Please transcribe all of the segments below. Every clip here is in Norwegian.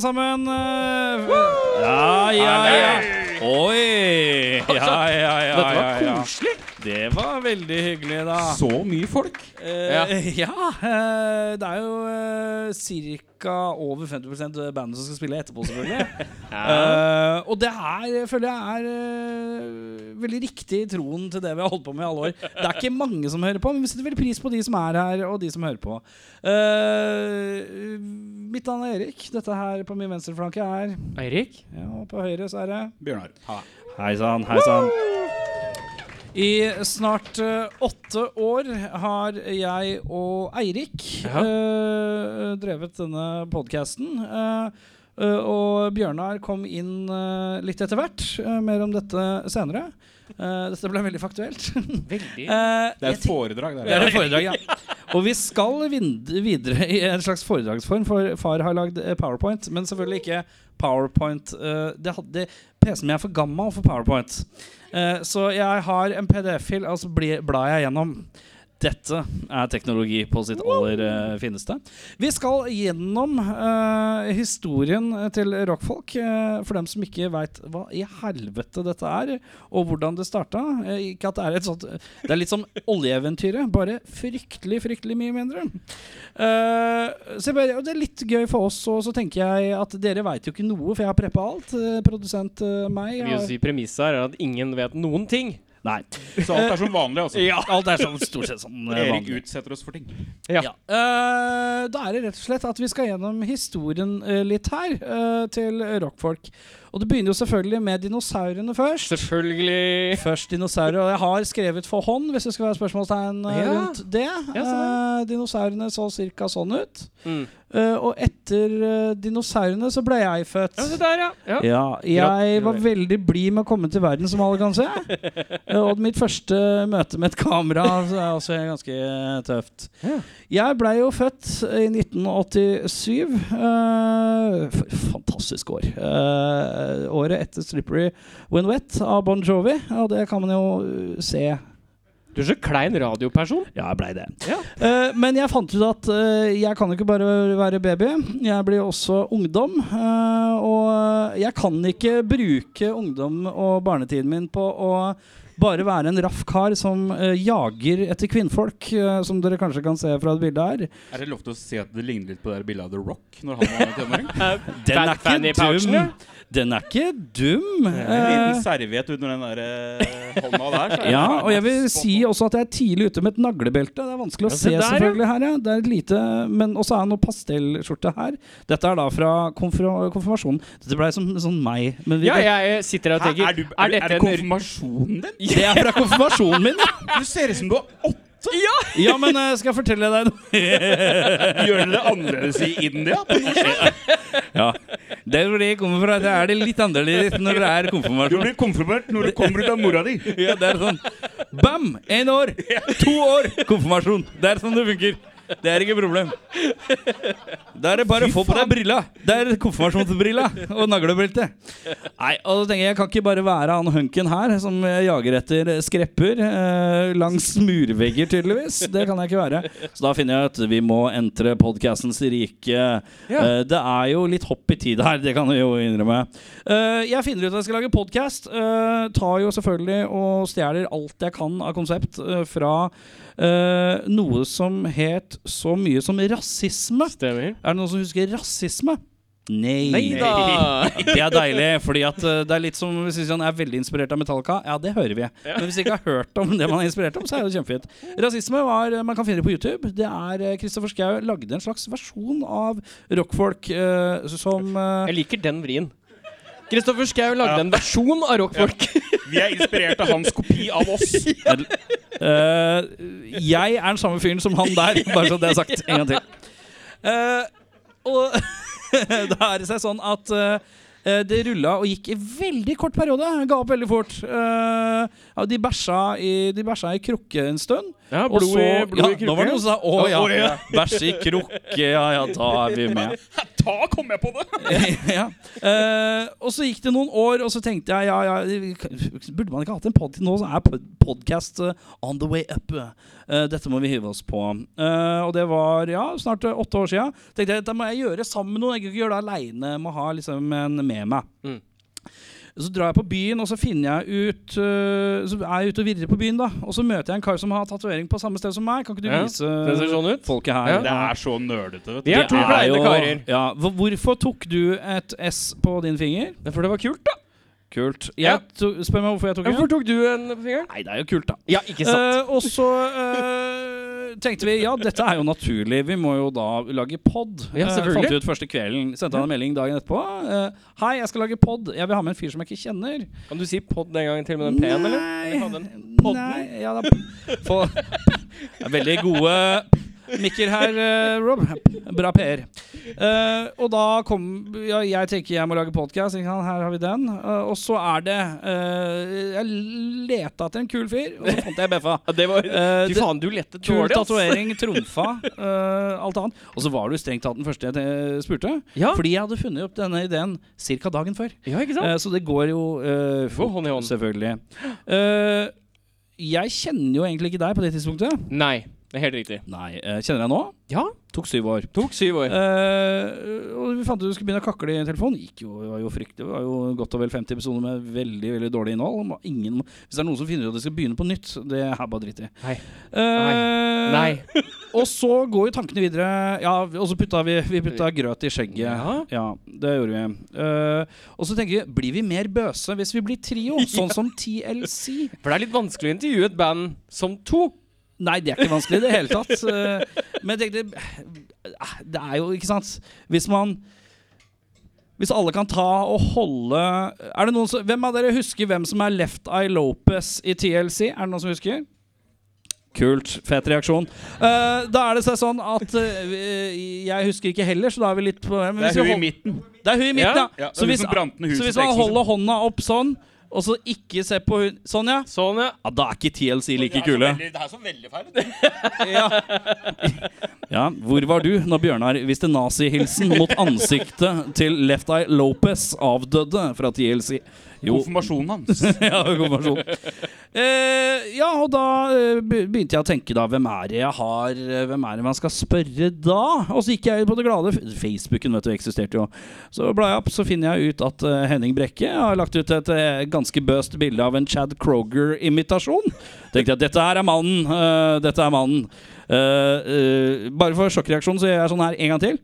sammen. Eh, Ja, ja, ja. Oi! Ja, ja, ja. Dette var ja, ja. koselig. Det var veldig hyggelig, da. Så mye folk. ja. ja eh, det er jo eh, ca. over 50 bandet som skal spille etterpå, selvfølgelig. Eh, og det er, føler jeg er eh, veldig riktig i troen til det vi har holdt på med i alle år. Det er ikke mange som hører på, men vi setter veldig pris på de som er her, og de som hører på. Eh, mitt navn er Erik. Dette her på min venstre flanke er Eirik, ja, og på høyre så er det Bjørnar. Ha det. Hei sann, hei sann. I snart eh, åtte år har jeg og Eirik Ja. eh, drevet denne podkasten. og Bjørnar kom inn eh, litt etter hvert. Eh, mer om dette senere. Eh, dette ble veldig faktuelt. Eh, veldig Det er jeg et foredrag det der. er et foredrag, ja. Og vi skal vind- videre i en slags foredragsform, for far har lagd eh, powerpoint. Men selvfølgelig ikke powerpoint. eh, Det hadde PC-en min er for gammel for powerpoint. Eh, Så jeg har en PDF-fil, og så blir- blar jeg gjennom. Dette er teknologi på sitt aller eh, fineste. Vi skal gjennom eh, historien til rockfolk. eh, for dem som ikke veit hva i helvete dette er, og hvordan det starta. Eh, ikke at det er et sånt Det er litt som oljeeventyret, bare fryktelig, fryktelig mye mindre. Eh, så jeg bare, og det er litt gøy for oss, og så tenker jeg at dere veit jo ikke noe, for jeg har preppa alt. Eh, produsent eh, meg. Jeg vil jo Har, si Premisset her er at ingen vet noen ting. nei. Så alt er som vanlig, altså. Ja, alt er sånn, stort sett sånn eh, Erik vanlig. utsetter oss for ting. Ja. Ja. Eh, da er det rett og slett at vi skal gjennom historien eh, litt her, eh, til rockfolk. Og det begynner jo selvfølgelig med dinosaurene først. Selvfølgelig. Først dinosaurer, og jeg har skrevet for hånd, hvis det skal være spørsmålstegn eh, Ja. rundt det. Ja, Eh, dinosaurene så cirka sånn ut. Mm. Eh, og etter eh, dinosaurene så ble jeg født. Ja, se der, ja. ja. Ja, jeg Gratulerer. var veldig blid med å komme til verden, som alle kan se. Eh, Og mitt første møte med et kamera så er også ganske eh, tøft. Ja. Jeg blei jo født i 1987. eh, for et fantastisk år. Eh, året etter 'Slippery When Wet' av Bon Jovi. Og det kan man jo eh, se Du er så klein radioperson. ja, jeg blei det. Ja. Eh, men jeg fant ut at eh, jeg kan jo ikke bare være baby. Jeg blir også ungdom. eh, og jeg kan ikke bruke ungdom og barnetiden min på å bare være en raff kar som eh, jager etter kvinnfolk, eh, som dere kanskje kan se fra det bildet her. Er det lov til å si at det ligner litt på det der bildet av The Rock når han var tenåring? Den er ikke Fanny Pouchen, ja. Den er ikke dum. En Eh, liten serviett under den der eh, hånda der. så er det Ja, faen og jeg vil meg spot si on. også at jeg er tidlig ute med et naglebelte. Det er vanskelig å Ja, se se, der, ja. selvfølgelig her, ja. Det er et lite, men også er det noe pastellskjorte her. Dette er da fra konfir- konfirmasjonen. Dette blei som sånn meg. Men vi Ja, jeg eh, sitter her og Hæ, tenker er, du, Er er, dette er en det konfirmasjonen din? Det er fra konfirmasjonen min, ja! Du ser ut som du er åtte! Ja, men eh, skal jeg fortelle deg noe? Gjør dere det annerledes i India? på noe sett? Ja. Der hvor det kommer fra, der er det litt annerledes når det er Du konfirmasjon. blir konfirmert når du kommer ut av mora di. Ja, det er sånn Bam! Én år! To år! Konfirmasjon. Det er sånn det funker. Det er ikke problem. Da er det bare å få på deg brilla. Det er konfirmasjonsbrilla og naglebelte. Nei, og da tenker jeg jeg kan ikke bare være han hunken her som jager etter skrepper eh, langs murvegger, tydeligvis. Det kan jeg ikke være. Så da finner jeg ut vi må entre podkastens rike. Eh, det er jo litt hopp i tid her, det kan jeg jo innrømme. Eh, jeg finner ut at jeg skal lage podkast. Eh, tar jo selvfølgelig og stjeler alt jeg kan av konsept eh, fra eh, noe som het så mye som rasisme. Stemmer. Er det noen som husker rasisme? Nei. Nei da. Det er deilig, fordi at eh, det er litt som hvis han er veldig inspirert av Metallica. Ja, det hører vi. Men hvis vi ikke har hørt om det man er inspirert om, så er det kjempefint. Rasisme var, eh, man kan finne det på YouTube. Det er eh, Kristoffer Schau lagde en slags versjon av rockfolk eh, som eh, Jeg liker den vrien. Kristoffer Schau lagde en versjon av rockfolk. Vi er inspirert av hans kopi av oss. eh, Jeg er den samme fyren som han der, bare så det er sagt en gang til. Eh, og da er det seg sånn at eh, eh, det rulla og gikk i veldig kort periode. Ga opp veldig fort. Eh, ja, de, bæsja i, de bæsja i krukke en stund. Ja, Og blod, så, i- blod ja, i nå var det sånn- noen som krukken. sa 'Å ja, Å, ja. bæsj i krukke', ja ja, da er vi med. Da kom jeg på det! ja. Eh, og så gikk det noen år, og så tenkte jeg ja, ja, Burde man ikke hatt en pod til nå? Så er pod podcast eh, on the way up. Eh, dette må vi hive oss på. Eh, og det var ja, snart eh, åtte år sia. Tenkte jeg, dette må jeg gjøre sammen med noen. Jeg kan ikke gjøre det aleine. Må ha liksom en med meg. Mm. Så drar jeg på byen, og så finner jeg ut eh, Så er jeg ute og virrer på byen, da. Og så møter jeg en kar som har tatovering på samme sted som meg. Kan ikke du Ja, Det ser vise sånn ut. folket her? Ja. Det er så nerdete, vet du. Vi er Det to er kleine jo- karer. Ja. Hvor- Hvorfor tok du et S på din finger? Det er For det var kult, da. Kult. Jeg Ja. to, spør meg hvorfor jeg tok Hvorfor en. tok du en på fingeren? Nei, det er jo kult, da. Ja, ikke Eh, og så eh, tenkte vi ja, dette er jo naturlig. Vi må jo da lage pod. Ja, Eh, selvfølgelig. fant vi ut første kvelden. Sendte han en melding dagen etterpå. eh, Hei, jeg skal lage pod. Jeg vil ha med en fyr som jeg ikke kjenner. Kan du si pod en gang til med den P-en, eller? Eller kan den? podden? Nei, ja, da, få, det er veldig gode mikker her, eh, Rob. Bra PR. Eh, og da kom ja, Jeg tenker jeg må lage podkast. Her har vi den. Eh, og så er det eh, Jeg leta etter en kul fyr, og så fant jeg Beffa. Ja, det var, Eh, fy det- faen, du lette Kul dårlig, ass. tatovering, trumfa, eh, alt annet. Og så var du strengt tatt den første jeg eh, spurte. Ja. Fordi jeg hadde funnet opp denne ideen ca. dagen før. ja, ikke sant? Eh, så det går jo eh, Gå hånd i hånd. Selvfølgelig. Eh, jeg kjenner jo egentlig ikke deg på det tidspunktet. Nei, det er helt riktig. Nei, eh, Kjenner jeg nå? Ja, Tok syv år. tok syv år. Eh, og vi fant ut du skulle begynne å kakle i telefonen. Gikk jo, det var jo fryktelig. Det var jo godt og vel 50 episoder med veldig veldig dårlig innhold. Må- Ingen, må- hvis det er noen som finner ut at de skal begynne på nytt, det er bare dritt i. Nei. Eh, Nei. Og så går jo tankene videre. Ja, og så putta vi, vi putta grøt i skjegget. Ja. Ja, det gjorde vi. Eh, og så tenker vi blir vi mer bøse hvis vi blir trio, sånn som TLC? For det er litt vanskelig å intervjue et band som to. Nei, det er ikke vanskelig i det hele tatt. Eh, Men jeg tenkte eh, Det er jo, ikke sant Hvis man Hvis alle kan ta og holde Er det noen som Hvem av dere husker hvem som er Left Eye Lopez i TLC? Er det noen som husker? Kult. Fet reaksjon. Eh, da er det så- sånn at eh, Jeg husker ikke heller, så da er vi litt på men Det hvis er vi hun i hold- midten. Det er hun i midten, Ja, ja. Ja, så, hvis, brant ned så huset hvis til man eksen. holder hånda opp sånn, og så ikke se på hun Sånn, ja. Sånn, ja. ja da er ikke TLC Det like er så kule. veldig- Det er så veldig feil. ut. Ja. ja, hvor var du når Bjørnar viste nazihilsen mot ansiktet til Left Eye Lopez, avdøde fra TLC? Jo, Konfirmasjonen hans. ja, konfirmasjon. Eh, ja, og da eh, be- begynte jeg å tenke, da. Hvem er det jeg har eh, Hvem er det man skal spørre da? Og så gikk jeg på det glade f- Facebooken, vet du, eksisterte jo. Så blar jeg opp, så finner jeg ut at eh, Henning Brekke har lagt ut et eh, ganske bøst bilde av en Chad Kroger-imitasjon. Tenkte jeg at dette her er mannen. eh, dette er mannen. Eh, eh, bare for sjokkreaksjon så gjør jeg sånn her en gang til.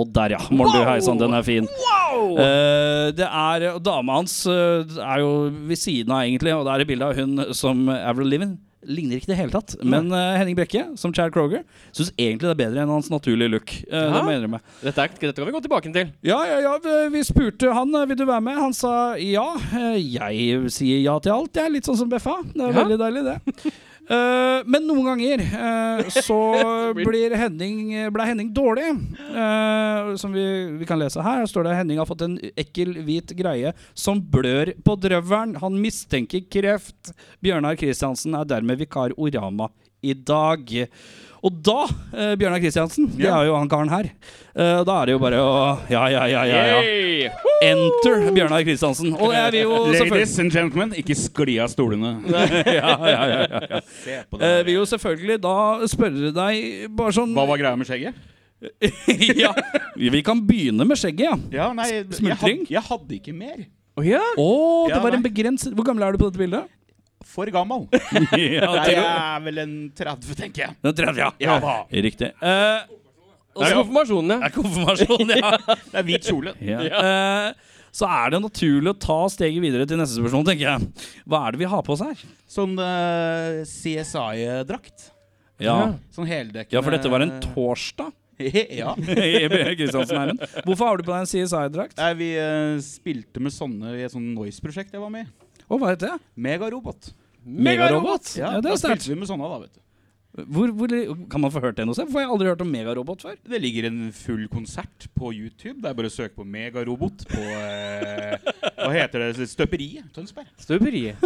Og der, ja. Morn, du, hei sann, den er fin. Eh, det er, og Dama hans eh, er jo ved siden av, egentlig, og det er et bilde av hun som Avril Livin. Ligner ikke i det hele tatt. Men eh, Henning Brekke, som Chad Kroger, syns egentlig det er bedre enn hans naturlige look. Eh, Ja. Det mener jeg med. Dette, er, dette kan vi gå tilbake til. Ja, ja, ja, vi- vi spurte han eh, vil du være med. Han sa ja. Eh, Jeg sier ja til alt, jeg. er Litt sånn som Beffa. Det er Ja. veldig deilig, det. Eh, men noen ganger eh, så blir- blir Henning, ble Henning dårlig. Eh, som vi, vi kan lese her, står det Henning har fått en ekkel, hvit greie som blør på drøvelen. Han mistenker kreft. Bjørnar Kristiansen er dermed vikar Orama i dag. Og da, eh, Bjørnar Kristiansen, det Ja. er jo han karen her. Eh, da er det jo bare å Ja, ja, ja, ja. ja. Yay! Enter Bjørnar Kristiansen. Og jeg vil jo selvfølgelig Ladies and gentlemen, ikke skli av stolene. ja, ja, ja, ja, ja. Se på Eh, det. vil jo selvfølgelig da spørre deg bare sånn Hva var greia med skjegget? ja, Vi kan begynne med skjegget, ja. Å, Ja, nei, jeg Smultring? had- Jeg hadde ikke mer. Å ja. det Ja, var nei. en begrenset Hvor gammel er du på dette bildet? For gammel. ja, Nei, til- jeg er vel en 30, tenker jeg. Den tredje, ja. Ja da. Riktig. Eh, Og så konfirmasjonen, det ja. er konfirmasjon, ja. Det er hvit kjole. ja. Eh, så er det naturlig å ta steget videre til neste spørsmål, tenker jeg. Hva er det vi har på oss her? Sånn eh, CSI-drakt. Ja, Eh. Sånn heldekkende ja for dette var en torsdag. ja. i Kristiansen-heimen. Hvorfor har du på deg en CSI-drakt? Nei, vi eh, spilte med sånne i et sånt Noise-prosjekt jeg var med i. Å, hva heter det? Megarobot. Megarobot? Ja, Ja, det da er sterkt. spilte vi med sånne, da, vet du. Hvor, hvor, kan man få hørt det noe sted? Hvorfor har jeg aldri hørt om megarobot før? Det ligger en full konsert på YouTube. Det er bare å søke på megarobot på eh, Hva heter det? Støperiet Tønsberg. Støperiet.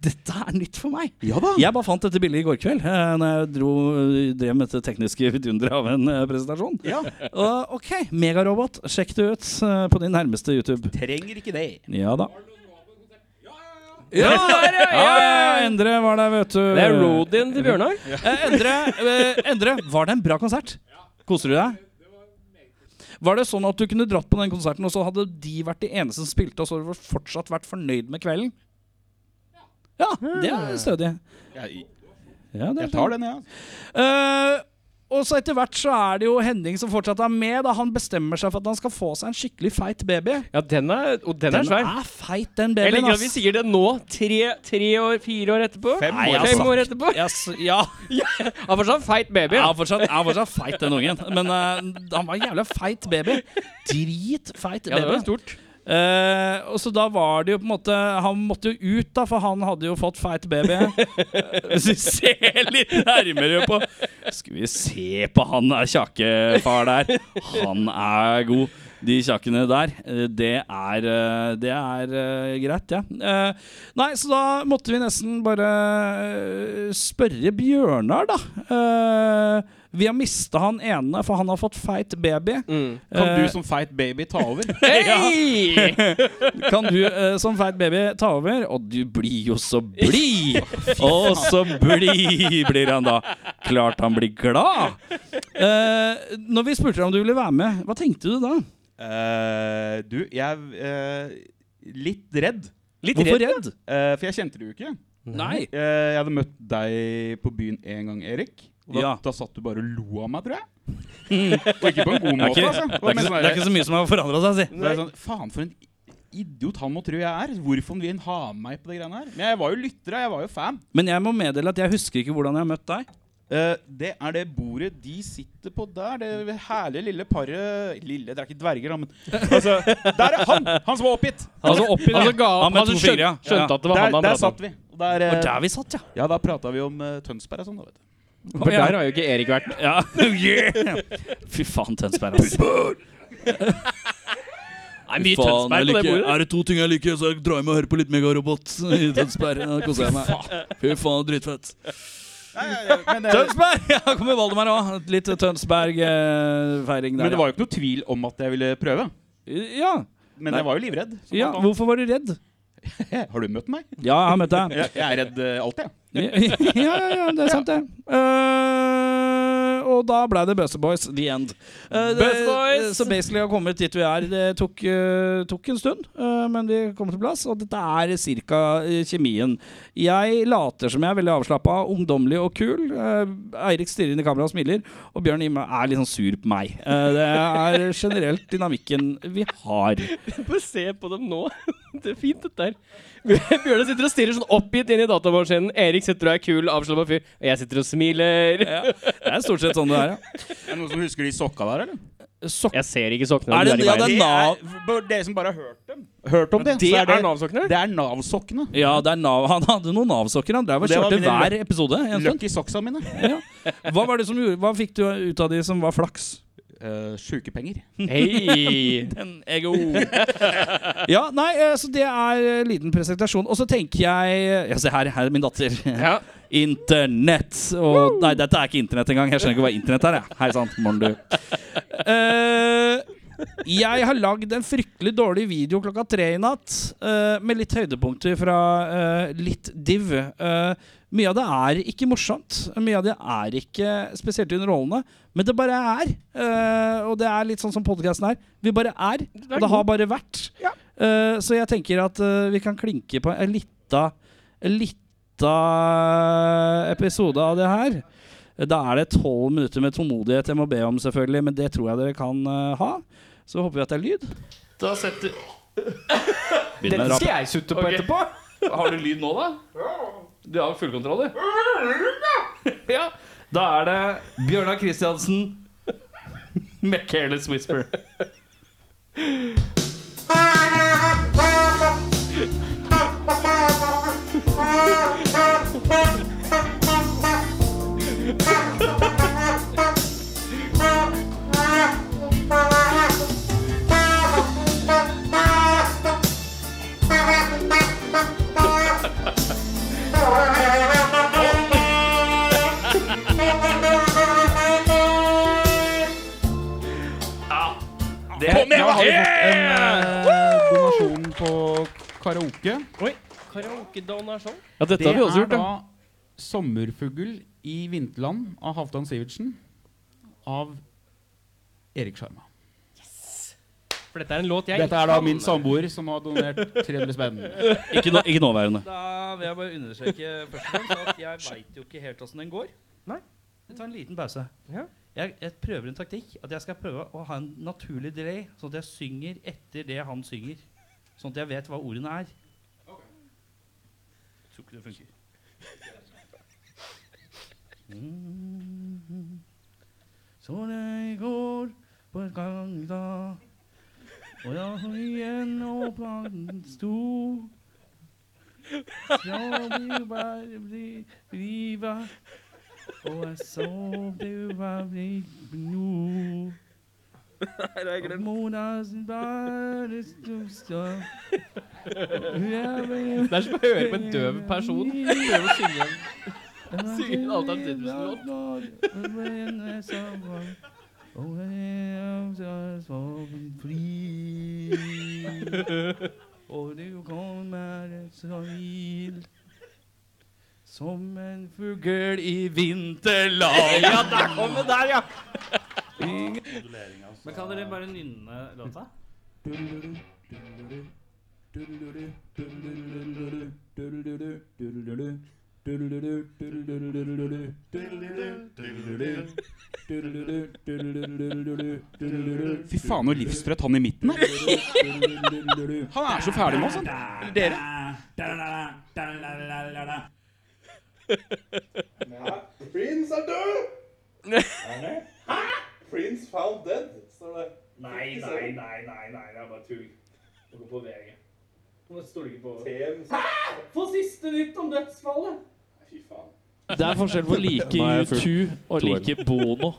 Dette er nytt for meg! Ja da. Jeg bare fant dette bildet i går kveld eh, Når jeg dro, eh, drev med dette tekniske vidunderet av en eh, presentasjon. Ja. Og, ok, megarobot. Sjekk det ut eh, på din nærmeste YouTube. Trenger ikke det. Ja da. Ja, der, ja, Ja, ja, ja. Endre var der, vet du. Det er roadien til Bjørnar. Eh, Endre, eh, Endre, var det en bra konsert? Koser du deg? Var det sånn at du kunne dratt på den konserten, og så hadde de vært de eneste som spilte, og så hadde du fortsatt vært fornøyd med kvelden? Ja, det er stødig. Jeg, Ja, det er jeg tar den, jeg. altså. Eh, og så etter hvert så er det jo Henning som fortsatt er med. Da han bestemmer seg for at han skal få seg en skikkelig feit baby. Ja, den er, og den er svær. feit, den Jeg babyen. liker at vi ass. sier det nå, tre, tre år, fire år etterpå. Fem Nei, år. fem år altså. etterpå. Ja, s- ja. Han var sånn feit baby. Jeg er fortsatt, jeg er fortsatt feit, den ungen. Men eh, han var en jævla feit baby. Dritfeit Ja, det var baby. stort. Eh, og så da var det jo på en måte Han måtte jo ut, da, for han hadde jo fått feit baby. Eh, Hvis vi ser litt nærmere på Skal vi se på han der tjakkefar der. Han er god. De tjakkene der, eh, det er eh, Det er eh, greit, ja. Eh, nei, så da måtte vi nesten bare eh, spørre Bjørnar, da. Eh, vi har mista han ene, for han har fått feit baby. Kan Eh, du som feit baby ta over? Hei! kan du eh, som feit baby ta over? Og du blir jo så blid! Og så blid blir han da. Klart han blir glad! Eh, når vi spurte deg om du ville være med, hva tenkte du da? Eh, du, jeg er litt redd. Litt Hvorfor redd. redd? Eh, for jeg kjente det jo ikke. Nei. Eh, jeg hadde møtt deg på byen en gang, Erik. Og da, Ja. da satt du bare og lo av meg, tror jeg. og ikke på en Det god er, måte, ikke, altså. det, Det er var ikke, mer så- sånn det er ikke så mye som har forandra seg, si. Det er sånn, Faen, for en idiot han må tro jeg er. Hvorfor vil han ha med meg på de greiene her? Men jeg var jo lytter, og jeg var jo fan. Men jeg må meddele at jeg husker ikke hvordan jeg har møtt deg. Eh, det er det bordet de sitter på der. Det herlige lille paret Lille, det er ikke dverger, da, men altså, Der er han! Han som var oppgitt! Altså oppi Han som ga Han opp, med han som to fingre, skjønte, ja. skjønte at det var Der, han han der pratet satt om. vi. Og der, eh, var der vi satt, ja. ja, da prata vi om eh, Tønsberg og sånn, da, vet du. For der har jo ikke Erik vært. Ja, yeah. Fy faen, Tønsberg. ass. Nei, Fy mye faen, jeg Tønsberg på det liker- bordet. Er det to ting jeg liker, så drar jeg med og hører på litt megarobot i Tønsberg. Da koser jeg meg. Fy faen, dritfett. Nei, ja, ja, men, eh, Tønsberg! Ja, kommer Valdemar òg. Litt Tønsberg-feiring der. men det var jo ikke noe tvil om at jeg ville prøve. ja. Men Nei. jeg var jo livredd. som ja. alt annet. Hvorfor var du redd? Har du møtt meg? Ja, jeg har møtt deg. Jeg, jeg er redd eh, alltid, jeg. Ja, ja, ja, det er sant, det. Eh, og da ble det Bøse Boys, the end. Eh, det- Bøse Boys! Så basically har kommet dit vi er. Det tok, eh, tok en stund, eh, men vi kom til plass. Og dette er ca. kjemien. Jeg later som jeg er veldig avslappa, ungdommelig og kul. Eh, Eirik stirrer inn i kameraet og smiler, og Bjørn Im er litt sånn sur på meg. Eh, det er generelt dynamikken vi har. Bare se på dem nå. Det er fint, dette her. Bjørnar sitter og stirrer sånn oppgitt inn i datamaskinen. Erik sitter og er kul, avslappa fyr. Og jeg sitter og smiler. Det er stort sett sånn det er, ja. Er det noen som husker de sokka der, eller? Sokker Jeg ser ikke sokkene. Er det- de ja, i veien. det er Nav- bare dere som bare har hørt dem. Hørt om det, Det er så er det, Nav-sokkene? det er Nav-sokkene. Ja, det er nav. Han hadde noen Nav-sokker. Han drev og Det var kjørte mine hver episode. En stund. Lucky socksa mine. Ja. Hva, var det som gjorde, hva fikk du ut av de som var flaks? Eh, Sjukepenger. Hei! Den ego. ja, nei, eh, så det er eh, liten presentasjon. Og så tenker jeg Ja, se her, her er min datter. Ja. Internett. Og nei, dette er ikke internett engang. Jeg skjønner ikke hva internett er, jeg. Hei sann, morgen, du. Eh, jeg har lagd en fryktelig dårlig video klokka tre i natt, eh, med litt høydepunkter fra eh, litt div. Eh, mye av det er ikke morsomt. Mye av det er ikke spesielt underholdende. Men det bare er. Eh, og det er litt sånn som podkasten er. Vi bare er. Og det har bare vært. Ja. Eh, så jeg tenker at eh, vi kan klinke på en lita, en lita episode av det her. Da er det tolv minutter med tålmodighet jeg må be om, selvfølgelig. Men det tror jeg dere kan eh, ha. Så håper vi at det er lyd. Da setter Begynn med rap. jeg sutte på etterpå. Har du lyd nå, da? Du har full kontroll, du. ja. Da er det Bjørnar Kristiansen med Careless Whisper. Thank en eh, Donasjon på karaoke. sånn. Karaokedonasjon? Ja, dette har vi også er gjort, da da. 'Sommerfugl i vinterland' av Halvdan Sivertsen. Av Erik Sjarma. For dette er en låt jeg Dette er da min samboer som har donert 300 spenn. ikke, nå- ikke nåværende. Da vil jeg bare understreke først og fremst at jeg veit jo ikke helt åssen den går. Nei. Jeg tar en liten pause. Ja. Jeg, jeg prøver en taktikk. At jeg skal prøve å ha en naturlig delay, sånn at jeg synger etter det han synger. Sånn at jeg vet hva ordene er. Tror ikke det funker. Mm. Så det går på et gang da Og jeg har igjen åpnet stor Ja, du bare blir livet Og jeg så du bare blir blod og Monas bare største Det er som å høre på en døv person prøve å synge en Synger en Halvdan Og du kommer så vill som en fugl i vinterland. Ja, der kom det der, ja! Men kan dere bare nynne låta? Fy faen, noe livstrøtt han i midten er. Han er så ferdig med oss, han. Eller dere. Prince er død! Prince found dead, står det. Nei, nei, nei, nei, nei, det er bare tull. Må gå på VG. Hæ?! Få siste nytt om dødsfallet! Fy faen. Det er forskjell på like U2 og like Bono.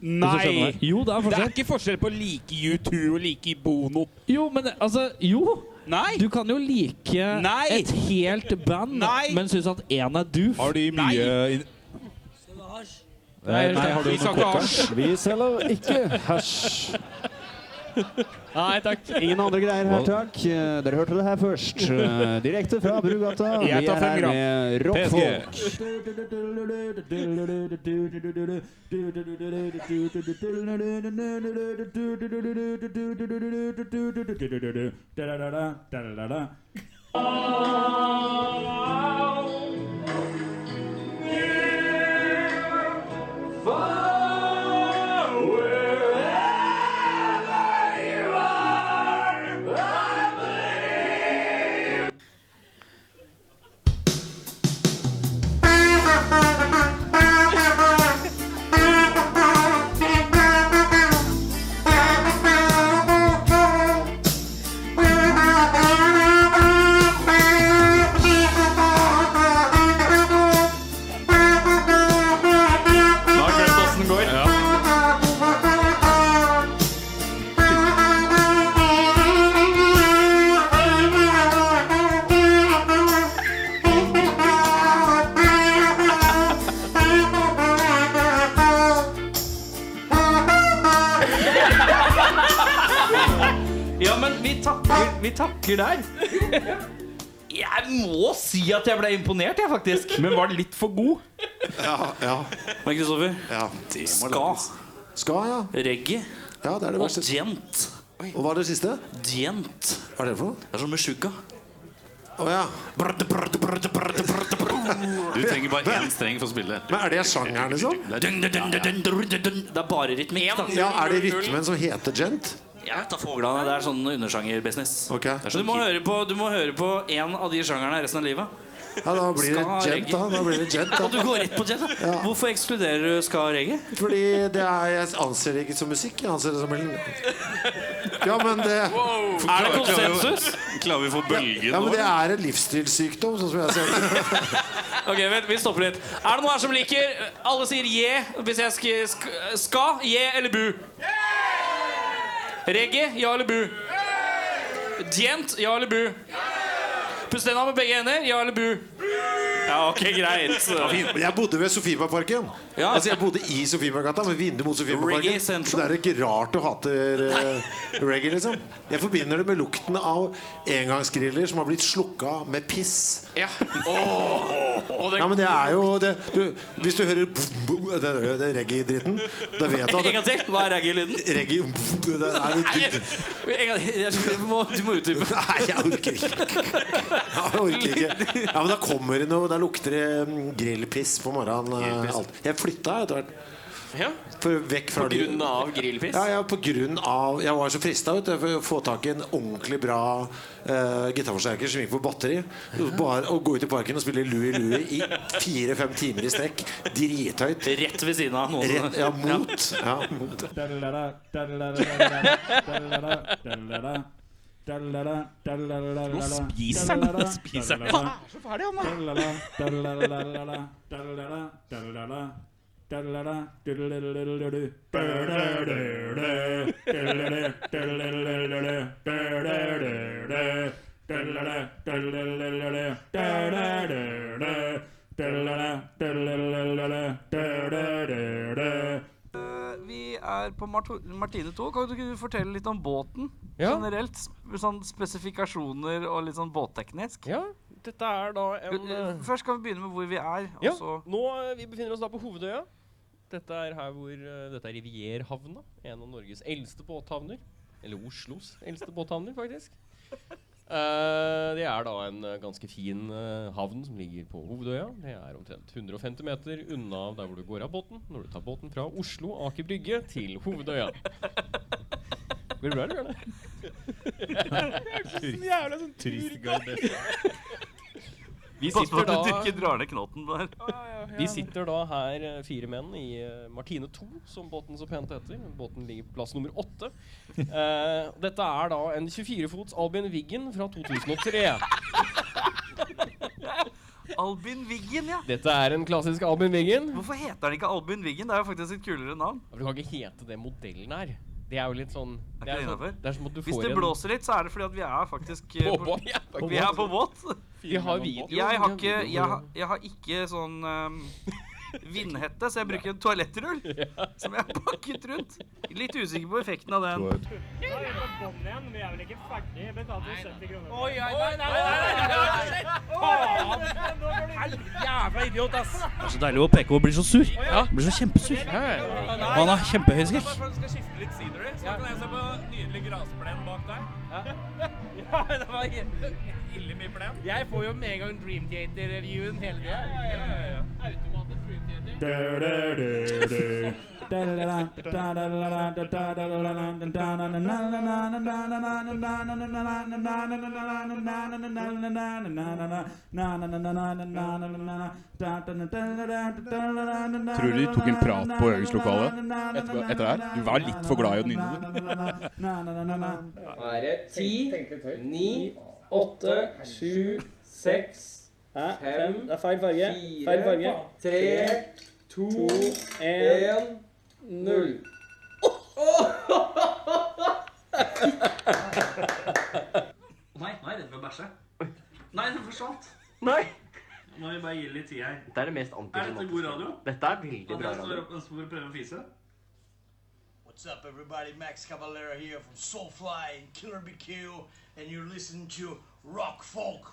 Nei! Jo, det er Det er forskjell. ikke forskjell på like U2 og like Bono. Jo, men det- altså Jo! Nei! Du kan jo like Nei! et helt band, Nei! men synes at én er doof. Har de Nei. mye inn- Nei, har du Vi noe kokain? Vi selger ikke hasj. Nei takk. Ingen andre greier her, takk. Eh, Dere hørte det her først. Eh, Direkte fra Brugata. Vi Jeg er tar fem her gram. med PSG. rockfolk. Ja, men vi takker, vi takker der. Jeg må si at jeg ble imponert, jeg, faktisk. Men var det litt for god? Ja, ja, Men Kristoffer, ja. ska, Ska, ja. reggae Ja, det er det og verste. djent. Og hva er det siste? Djent. Hva er det for noe? Det er som med sjuka. Å ja. Du trenger bare én streng for å spille. Men er det sjangeren, liksom? Det er bare rytmikk, da. Ja, Er det rytmen som heter gent? Ja, ta fuglene. Det er sånn undersjangerbusiness. Ok. Det er sånn- Du må høre på- du må høre på én av de sjangerne resten av livet. Ja, da blir det Ska, gent, da. da, blir det gent, Og da. du går rett på jet, da. Hvorfor ekskluderer du ska og reggae? Fordi det er, jeg anser det ikke som musikk. Jeg anser det som en Ja, men det, Er det konsensus? Klarer vi å få bølgen ja, men nå? det er en livsstilssykdom, sånn som jeg ser det. Ok, vent, vi stopper litt. Er det noen her som liker Alle sier je hvis jeg sk sk ska. Je eller bu? Reggae, ja eller bu? Djent, ja eller bu? Pust den av med begge hender, ja eller bu? Ja, ok, greit. Men Jeg bodde ved Sofiemarkparken. Ja. Altså, jeg bodde i Sofiemarkgata, med vindu mot Reggae Sofiemarkparken. Central. Så det er jo ikke rart du hater eh, reggae, liksom. Jeg forbinder det med lukten av engangsgriller som har blitt slukka med piss. Ja. Åh. Og det, Ja, men det er jo det, du, Hvis du hører boom, boom, den, den reggae-dritten, da vet du en gang at til. Hva er reggae-lyden? reggae boom, det er jo dypt. En gang til. Jeg må, du må utdype. Nei, jeg orker ikke. Jeg orker ikke. Ja, men da kommer det noe Da lukter det mm, grillpiss på morgenen. eh, Grillpiss. Alt. Jeg flytta etter hvert. Ja. For, vekk fra På grunn av grillfisk? Ja, ja, på grunn av Jeg var så frista vet du, for å få tak i en ordentlig bra eh, gitarforsterker som gikk på batteri. Og Bare, og gå ut i parken og spille Louie Louie i fire-fem timer i strekk. Drithøyt. Rett ved siden av noen. Rett, ja, mot. Ja, mot. Nå spiser han. Nå spiser han. Faen, er så ferdig, han da. Vi er på Marto- Martine 2. Kan ikke du fortelle litt om båten Ja. generelt? Sånn spesifikasjoner og litt sånn båtteknisk. Ja, dette er da en eh, Først kan vi begynne med hvor vi er. Og Ja, så nå eh, vi befinner oss da på Hovedøya. Dette er her hvor eh, Dette er Rivierhavna. En av Norges eldste båthavner. Eller Oslos eldste båthavner, faktisk. Eh, det er da en eh, ganske fin eh, havn som ligger på Hovedøya. Det er omtrent 150 meter unna der hvor du går av båten når du tar båten fra Oslo Aker Brygge til Hovedøya. Går det bra, eller? Bjørne? Jævla sånn turgardess. Vi Pass på sitter at du da ikke drar ned knotten der. Vi sitter da her, eh, fire menn, i eh, Martine 2, som båten så pent heter. Båten ligger på plass nummer åtte. Eh, dette er da en 24-fots Albin Wiggen fra 2003. Albin Wiggen, ja. Dette er en klassisk Albin Wiggen. Hvorfor heter den ikke Albin Wiggen? Det er jo faktisk et kulere navn. Du kan ikke hete det modellen her. Det er jo litt sånn Er Det ikke det er, sånn, innenfor? det er som at du Hvis får det en blåser litt, så er det fordi at vi er faktisk eh, På på- båt, ja. Vi er på båt. Vi har video. Jeg har vi ikke, video. jeg, har- jeg har ikke sånn ehm, vindhette, så jeg bruker en toalettrull som jeg har pakket rundt. Litt usikker på effekten av den. Det er så deilig å PK blir så sur. Han Blir så kjempesur. Og han har kjempehøy skrekk. Tror du de tok en prat på øvingslokalet etter, etter det her? Du var litt for glad i å nynne. du. er det ti, ni, åtte, sju, seks, fem Det er feil farge. Feil farge. Tre, to, én, null. Nei, nei, dette var bæsje. Nei, den forsvant. Nei! Nå må vi bare gi litt tid her. Det er det mest antifanatiske. god radio? Dette er veldig bra Andreas står radio. opp mens mor prøver å fise. What's up, everybody? Max Cavalera here from Soulfly and Killer BQ, and you're listening to Rock Folk.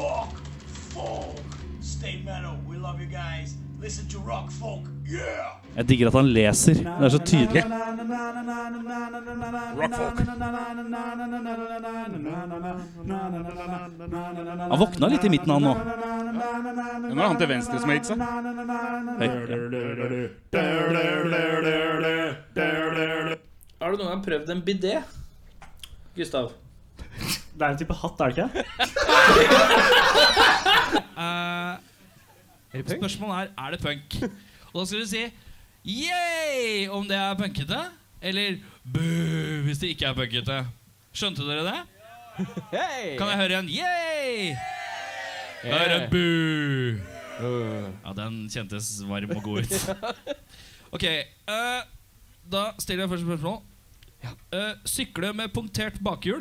Rock Folk! Stay metal. We love you guys. Listen to Rock Folk. Yeah! Jeg digger at han leser. Det er så tydelig. Han våkna litt i midten, han nå. Nå er han til venstre som har gitt seg. Har du noen gang prøvd en bidé? Gustav? Det er en type hatt, er det ikke? Spørsmålet er er det punk. Og da skal du si yeah om det er punkete, eller boo hvis det ikke er punkete. Skjønte dere det? Kan jeg høre en yeah? Jeg hører en boo. Ja, den kjentes varm og god ut. Ok, eh, da stiller jeg først spørsmål. Eh, sykle med punktert bakhjul.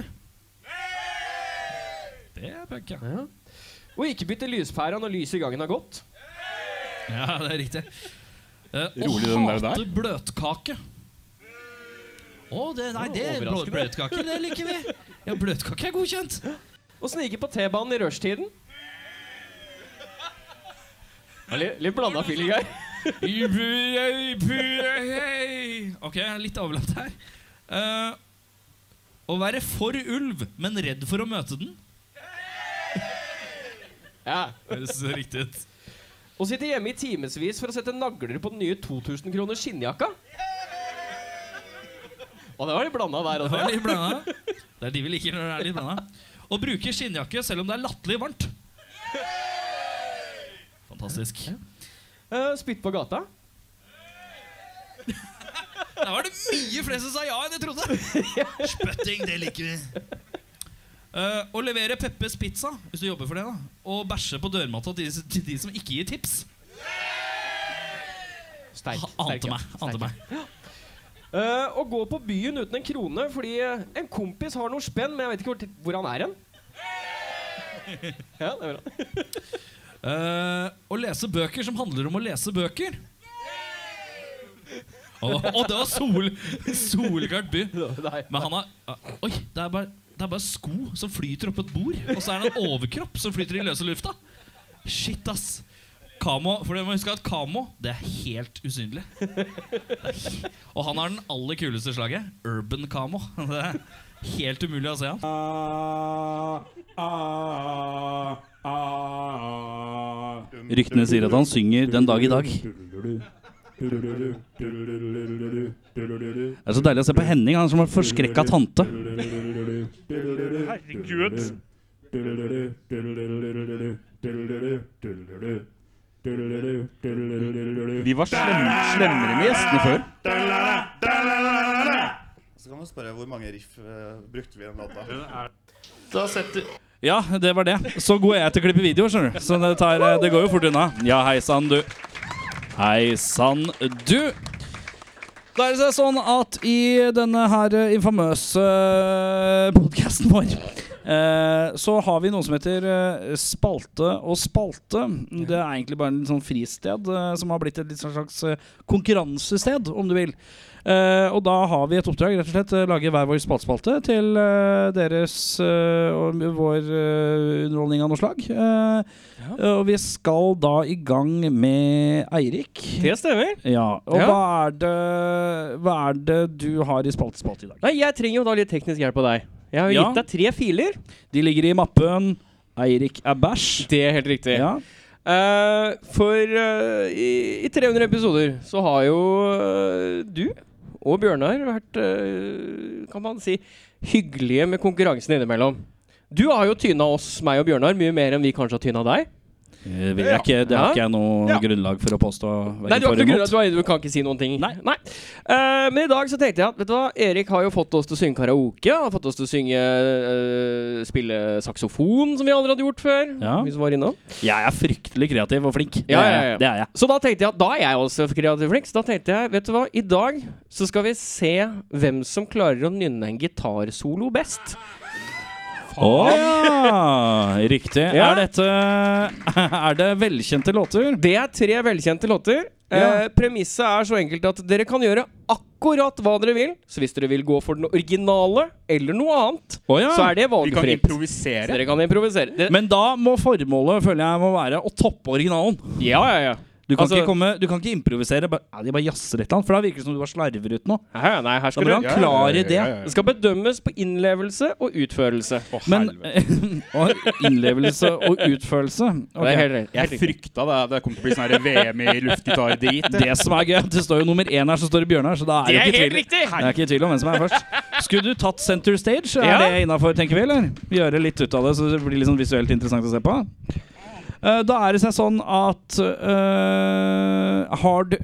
Det er punk, ja. Og ikke bytte lyspæra når lyset i gangen har gått. Ja, det er riktig. Eh, å Rolig den der hate der. bløtkake. Å, det, nei, det er blå- Overraskende. bløtkake. Det liker vi. Ja, bløtkake er godkjent. Å snike på T-banen i rushtiden. Ja, Litt, litt blanda feeling her. Ok, jeg er litt overlatt her. Eh, å være for ulv, men redd for å møte den. Ja. Høres riktig ut. Å sitte hjemme i timevis for å sette nagler på den nye 2000 kroner skinnjakka. Og det var litt blanda Det der. altså. var litt blanda. Det er de vi liker når det er litt blanda. Å bruke skinnjakke selv om det er latterlig varmt. Fantastisk. Eh, spytt på gata. Der var det mye flere som sa ja enn jeg trodde. Spytting, det liker vi. Eh, å levere Peppes pizza hvis du jobber for det da og bæsje på dørmatta til, de- til de som ikke gir tips. Sterk. Ha- Ante sterk, ja. meg. Ante meg. Eh, å gå på byen uten en krone fordi eh, en kompis har noe spenn, men jeg vet ikke hvor, hvor han er hen. Ja, det er bra. Eh, å lese bøker som handler om å lese bøker. Og det var sol, Solgard by. Men han har ah, Oi, det er, bare, det er bare sko som flyter oppå et bord, og så er det en overkropp som flyter i løse lufta. Shit, ass. Kamo, for dere må huske at Kamo det er helt usynlig. Og han har den aller kuleste slaget. Urban Kamo. Det er helt umulig å se han. Ryktene sier at han synger den dag i dag. Det er så deilig å se på Henning, han som var forskrekka tante. Herregud. Vi var slem, slemmere med gjestene før. Så kan man spørre hvor mange riff eh, brukte vi i den låta. Da setter Ja, det var det. Så god er jeg til å klippe videoer, skjønner du. Så det, tar, det går jo fort unna. Ja, hei sann, du. Hei sann, du. Da er det sånn at i denne her eh, infamøse podkasten vår eh, så har vi noe som heter eh, Spalte og spalte. Det er egentlig bare en litt sånn fristed eh, som har blitt et litt sånn slags eh, konkurransested, om du vil. Eh, og da har vi et oppdrag, rett og slett. eh, Lage hver vår spaltspalte til eh, deres eh, og vår eh, underholdning av noe slag. Eh, eh, Og vi skal da i gang med Eirik. Det stemmer. Ja, og Ja. Hva, er det, hva er det du har i spaltespalte i dag? Nei, jeg trenger jo da litt teknisk hjelp av deg. Jeg har jo Ja. gitt deg tre filer. De ligger i mappen. Eirik er bæsj. Det er helt riktig. Ja. Eh, for eh, i, i 300 episoder så har jo eh, du og Bjørnar vært, eh, kan man si, hyggelige med konkurransen innimellom. Du har jo tyna oss, meg og Bjørnar, mye mer enn vi kanskje har tyna deg. Eh, vil jeg ikke, det har Ja. ikke jeg noe Ja. grunnlag for å påstå. hverken Nei, du for har ikke eller grunn til at du kan ikke si noen ting. Nei. Eh, men i dag så tenkte jeg at vet du hva, Erik har jo fått oss til å synge karaoke. Han har fått oss til å synge eh, spille saksofon, som vi aldri hadde gjort før. Ja. Vi som var innom. imot. Jeg er fryktelig kreativ og flink. Det Ja, er ja, jeg. ja. Det er jeg. Så da tenkte jeg at da er jeg også kreativ flink. Så da tenkte jeg, vet du hva, i dag så skal vi se hvem som klarer å nynne en gitarsolo best. Å ja! Riktig. Ja. Er dette Er det velkjente låter? Det er tre velkjente låter. Eh, Premisset er så enkelt at dere kan gjøre akkurat hva dere vil. Så hvis dere vil gå for den originale eller noe annet, Å ja. så er det Vi kan valgfritt. improvisere. Så dere kan improvisere. Det, Men da må formålet føler jeg, må være å toppe originalen. ja, ja, ja. Du kan, Altså- ikke, komme, du kan ikke improvisere. Bare, ja, de bare jazzer litt, for da virker det som du bare slarver ut noe. Nei, nei, her skal Da må du han klare det. Det skal bedømmes på innlevelse og utførelse. Men og innlevelse og utførelse Det er helt riktig. Jeg frykta det. Det kom til å bli sånn her VM i luftgitardrit. Det som er gøy, det står jo nummer én her, så står det Bjørnar. Så da er Det det, er ikke helt tvil. riktig! Det er ikke tvil om hvem som er først. Skulle du tatt Center Stage? Er Ja. det innafor, tenker vi? eller? Gjøre litt ut av det, så det blir litt sånn visuelt interessant å se på. Eh, da er det seg sånn at eh, Har du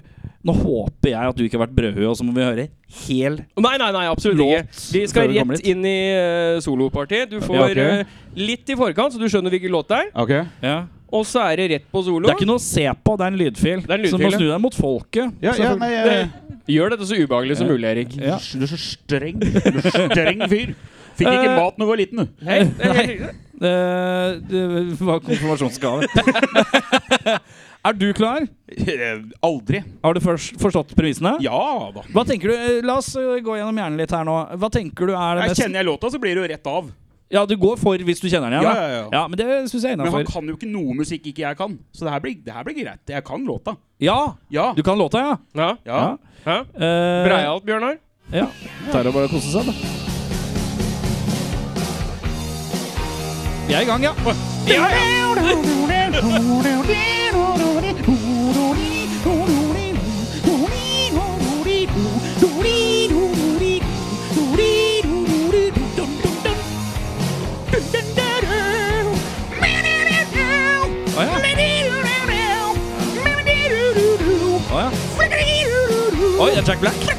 Nå håper jeg at du ikke har vært brødhue, og så må vi høre hel Nei, nei, nei, absolutt ikke. Vi før skal vi kommer rett inn i eh, solopartiet. Du får ok. eh, litt i forkant, så du skjønner hvilken låt det er. Ja. Og så er det rett på solo. Det er ikke noe å se på, det er en lydfil. Det er en Så du må lydfil, snu ja. deg mot folket. Ja, ja, selvfølgelig. nei, Eh, jeg- Gjør dette så ubehagelig som Ja. mulig, Erik. Ja. Du er så streng. Du er så streng fyr. Fikk ikke mat når du var liten, du. Nei, Eh, det var konfirmasjonsgave. er du klar? Eh, Aldri. Har du først forstått premissene? Ja da. Hva tenker du, eh, La oss eh, gå gjennom hjernen litt her nå. Hva tenker du er det Jeg mest kjenner jeg låta, så blir det jo rett av. Ja, du går for hvis du kjenner den igjen? Ja, da. ja, ja. men det synes jeg er Men han innafor. kan jo ikke noe musikk ikke jeg kan. Så det her blir, det her blir greit. Jeg kan låta. Ja, Ja. du kan låta, ja? Ja. Ja. Hæ? Eh, Breialt, Bjørnar? Ja. Tar og bare koser seg, da. Vi er i gang, ja. Vi er i gang. Å ja. Å ja. Oi, det er Jack Black.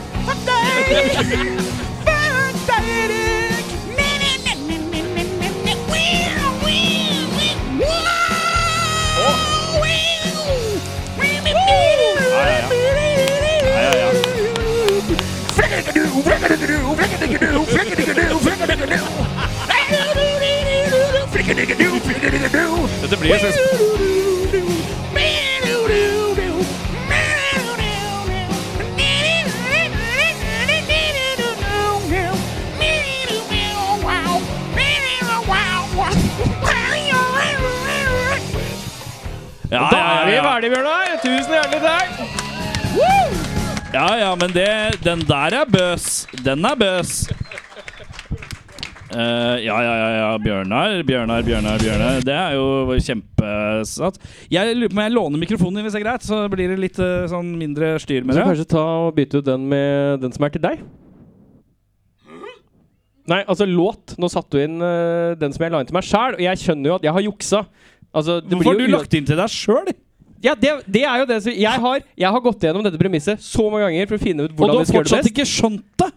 Dette blir en slags ja, Da er vi ferdige, Bjørnar. Tusen hjertelig takk. Ja, ja, men det, den der er bøs. Den er bøs. Eh, ja, ja, ja, ja. Bjørnar, Bjørnar, Bjørnar. Bjørnar Det er jo kjempesatt. Jeg lurer på om jeg låner mikrofonen din, hvis det er greit? Så blir det litt eh, sånn mindre styr Du med skal det. kanskje ta og bytte ut den med den som er til deg? Nei, altså låt. Nå satte du inn eh, den som jeg la inn til meg sjæl, og jeg skjønner jo at jeg har juksa. Altså, det Hvorfor har blir du jo lagt inn til deg sjøl? Ja, det, det er jo det som jeg har, jeg har gått gjennom dette premisset så mange ganger for å finne ut hvordan vi skal gjøre det best. ikke skjønt det?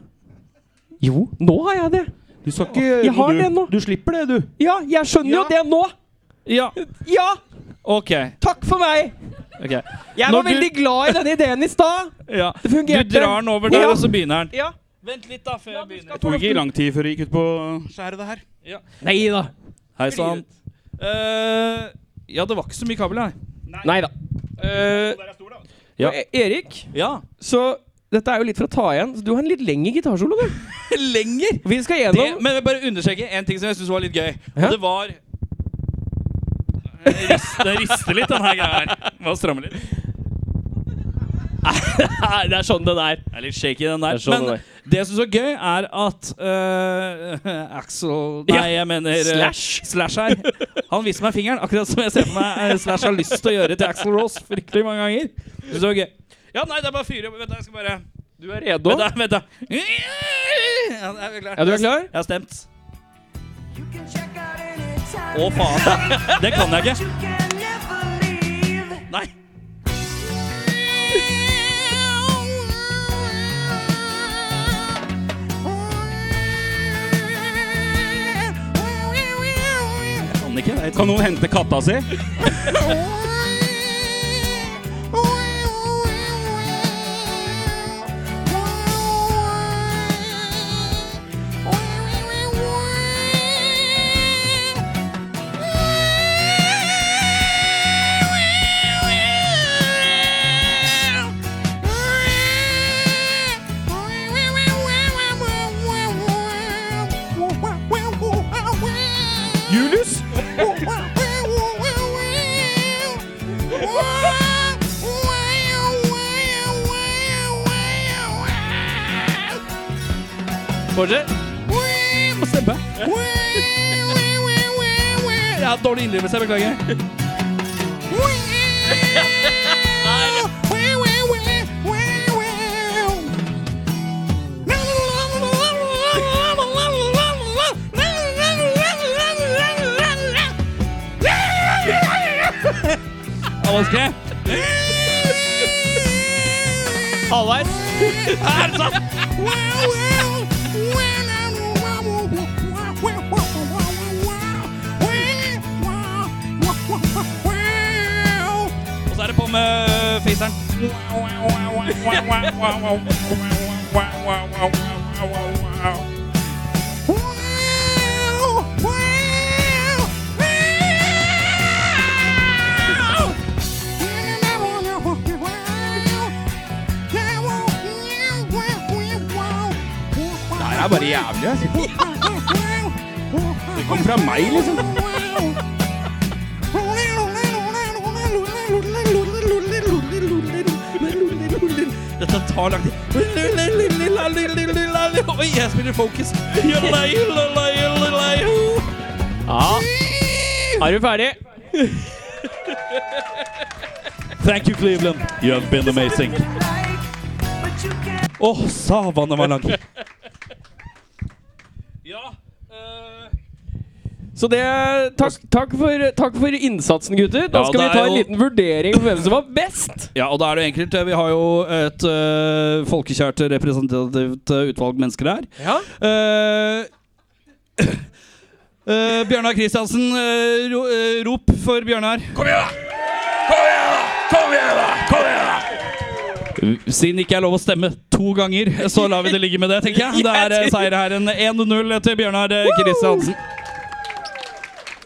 Jo, nå har jeg det. Du skal Jeg har det nå. Du slipper det, du. Ja, jeg skjønner jo det nå. Ja. Ja! Ok. Takk for meg! ok Jeg Når var veldig glad i denne ideen i stad. ja. Det fungerte. Du drar den over der, Ja. og så begynner den. Ja. Vent litt, da, før jeg begynner. Det tok ikke lang tid før det gikk ut på skjæret, det her. Nei da. Hei sann. Eh, ja, det var ikke så mye kabel, nei. Nei da. Ja. Eh, Erik, Ja. så dette er jo litt for å ta igjen. Så du har en litt lengre gitarsolo, du. Lenger! Vi skal Det, gjennom men jeg bare understreke en ting som jeg syns var litt gøy. Ja. Og det var Det rist- det rister litt, den her greia her. Må stramme litt. Nei, det er sånn den er. Det er litt shaky, den der. Det er sånn Men det det jeg syns var gøy, er at øh, Axel Nei, Ja. jeg mener øh, Slash. Slash her. Han viste meg fingeren, akkurat som jeg ser for meg øh, Slash har lyst til å gjøre til Axel Rose fryktelig mange ganger. Jeg synes det var gøy. Ja, nei, det er bare å fyre opp. Vent, da. Jeg skal bare Du er redo? Vent, da. vent da. Ja, jeg er klar. Ja, du er klar? Jeg har stemt. Å, faen. Det kan jeg ikke. Nei. Jeg kan ikke. Jeg Kan noen hente katta si? Julius? Fortsett. Må stemme. Jeg har dårlig innlevelse. Jeg beklager. Det var vanskelig. Halvveis. Og så er det på med fiseren. Wow. er bare jævlig. ass. Det kom fra meg, liksom. Dette tar lang tid. Oi, jeg spiller Focus. Ja. Er du ferdig? Thank you, Cleveland. You have been amazing. Å, savan, den var lang. Så det Takk, takk, for, takk for innsatsen, gutter. Da Ja, skal det vi ta er en jo- liten vurdering på hvem som var best. Ja, og da er det jo enkelt. Vi har jo et øh, folkekjært representativt øh, utvalg mennesker her. Ja. Eh, eh, Bjørnar Kristiansen, eh, ro, eh, rop for Bjørnar. Kom igjen, da! Kom igjen, da! Kom igjen, da! Siden det ikke er lov å stemme to ganger, så lar vi det ligge med det, tenker jeg. Det er eh, seier her. En 1-0 til Bjørnar eh, Kristiansen.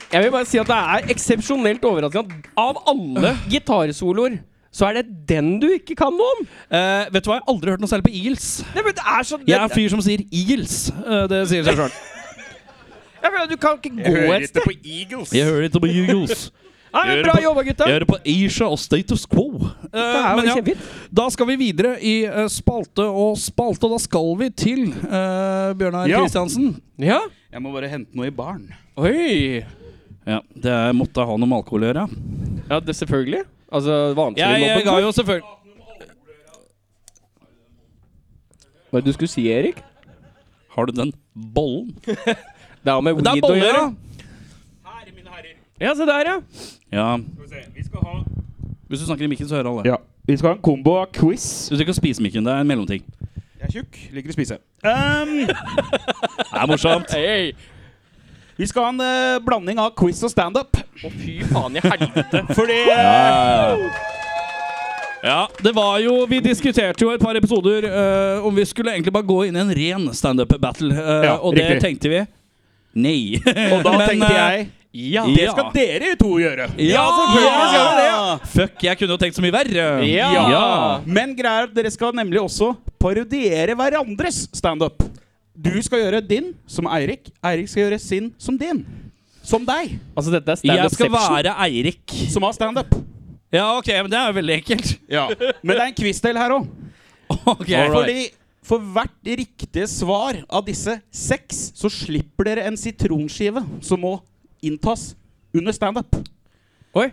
Jeg vil bare si at det er eksepsjonelt overraskende at av alle gitarsoloer så er det den du ikke kan noe om! eh, vet du hva, jeg har aldri hørt noe særlig på Eagles. Nei, men det er så, Jeg er en fyr som sier Eagles. Eh, Det sier seg sjøl. Jeg føler at Du kan ikke gå et sted. Eagles. Jeg hører ikke på Eagles. Ja, men Jeg hører bra på- jobba, gutta. Jeg hører på Asia og Status Quo. Eh, er jo men ja, kjempefint. da skal vi videre i eh, spalte og spalte, og da skal vi til eh, Bjørnar Ja. Kristiansen. Ja? Jeg må bare hente noe i baren. Oi! Ja, det er- måtte ha noe med alkohol å gjøre. Ja, det selvfølgelig. Altså vanskelig Jeg, jeg ga jo selvfølgelig Hva er det du skulle si, Erik? Har du den bollen? Det har med Det er weed å boller, gjøre. ja. Ja, se der, ja. ja. Vi skal ha Hvis du snakker i mikken, så hører alle. Ja. Vi skal ha en kombo av quiz. Du trenger ikke å spise mikken. Det er en mellomting. Jeg er tjukk, liker å spise. Um, Det er morsomt. Hey. vi skal ha en eh, blanding av quiz og standup. Å, fy faen i helvete. Fordi Ja, det var jo Vi diskuterte jo et par episoder eh, om vi skulle egentlig bare gå inn i en ren standup-battle, eh, Ja, og det riktig. tenkte vi. Nei. Og da tenkte jeg ja, eh, Det skal dere to gjøre. Ja, selvfølgelig skal vi det. Fuck, jeg kunne jo tenkt så mye verre. Ja. Men greia er at dere skal nemlig også parodiere hverandres standup. Du skal gjøre din som Eirik. Eirik skal gjøre sin som din. Som deg, Altså, dette er Jeg skal standup-section. være Eirik. som har standup. Ja, ok, men det er jo veldig enkelt. Ja. Men det er en quiz-del her òg. Ok, Fordi for hvert riktige svar av disse seks, så slipper dere en sitronskive som må inntas under standup. Oi.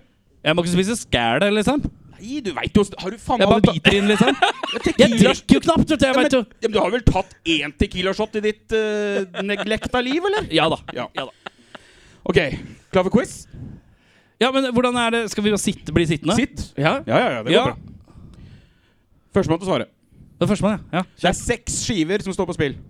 Jeg må ikke spise skæl, liksom. Nei, du veit jo Har du faen Jeg bare biter inn, liksom. Jeg drikker jo knapt, vet du. Jeg Ja, men, vet jo. ja, men du har vel tatt én tequila-shot i ditt uh, neglekta liv, eller? Ja da. Ja. Ja da. OK, klar for quiz? Ja, men hvordan er det? Skal vi bare sitte, bli sittende? Sitt. Ja. Ja, ja, ja, det går Ja. bra. Førstemann til å svare. Det er førstemann, ja. ja. Det er seks skiver som står på spill.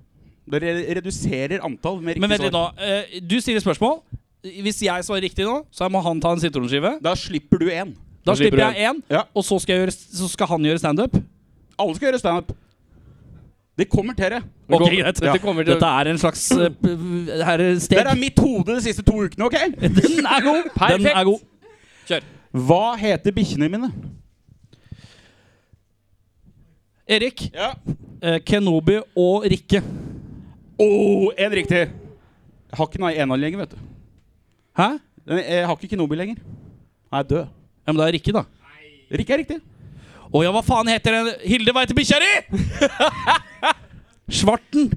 Dere reduserer antall med Men riktig vent litt nå. Eh, Du stiller spørsmål. Hvis jeg svarer riktig nå, så må han ta en sitronskive. Da slipper du én. Da Da slipper slipper du jeg én, Ja. og så skal, jeg gjøre, så skal han gjøre standup. Alle skal gjøre standup. Det kommer til dere. Ok, kommer- greit. dette kommer til- Dette er en slags eh, p- her er steg. Der er mitt hode de siste to ukene, OK? Den er god! Den Perfekt. er god. Hva heter bikkjene mine? Erik, Ja. eh, Kenobi og Rikke. Oh, en riktig. Jeg har ikke den ene lenger, vet du. Hæ? Den- Jeg har ikke Kenobi lenger. Han er død. Ja, men det er Rikke, da. Rikke er riktig. Å ja, hva faen heter den Hilde veit bikkja di! Svarten.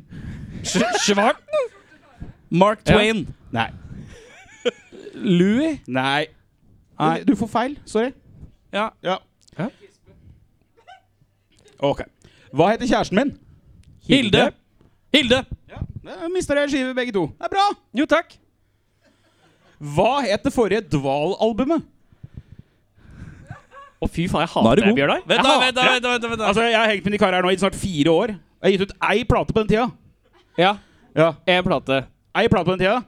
Sj- Svarten? Mark Twain. Nei. Louis. Nei. Nei. Du får feil. Sorry. Ja. Ja. Hæ? OK. Hva heter kjæresten min? Hilde. Hilde. Ja, da mister jeg en skive, begge to. Det er bra. Jo, takk. Hva het det forrige Dval-albumet? Å, fy faen, jeg Da er hater du deg, god. Bjørnar. Vent Jeg da, hater vent da, deg. vent da, vent da, vent da. Altså, Jeg har hengt med de karene her nå i snart fire år. Jeg har gitt ut ei plate på den tida. Ja, Ja, en plate. Ei plate på den tida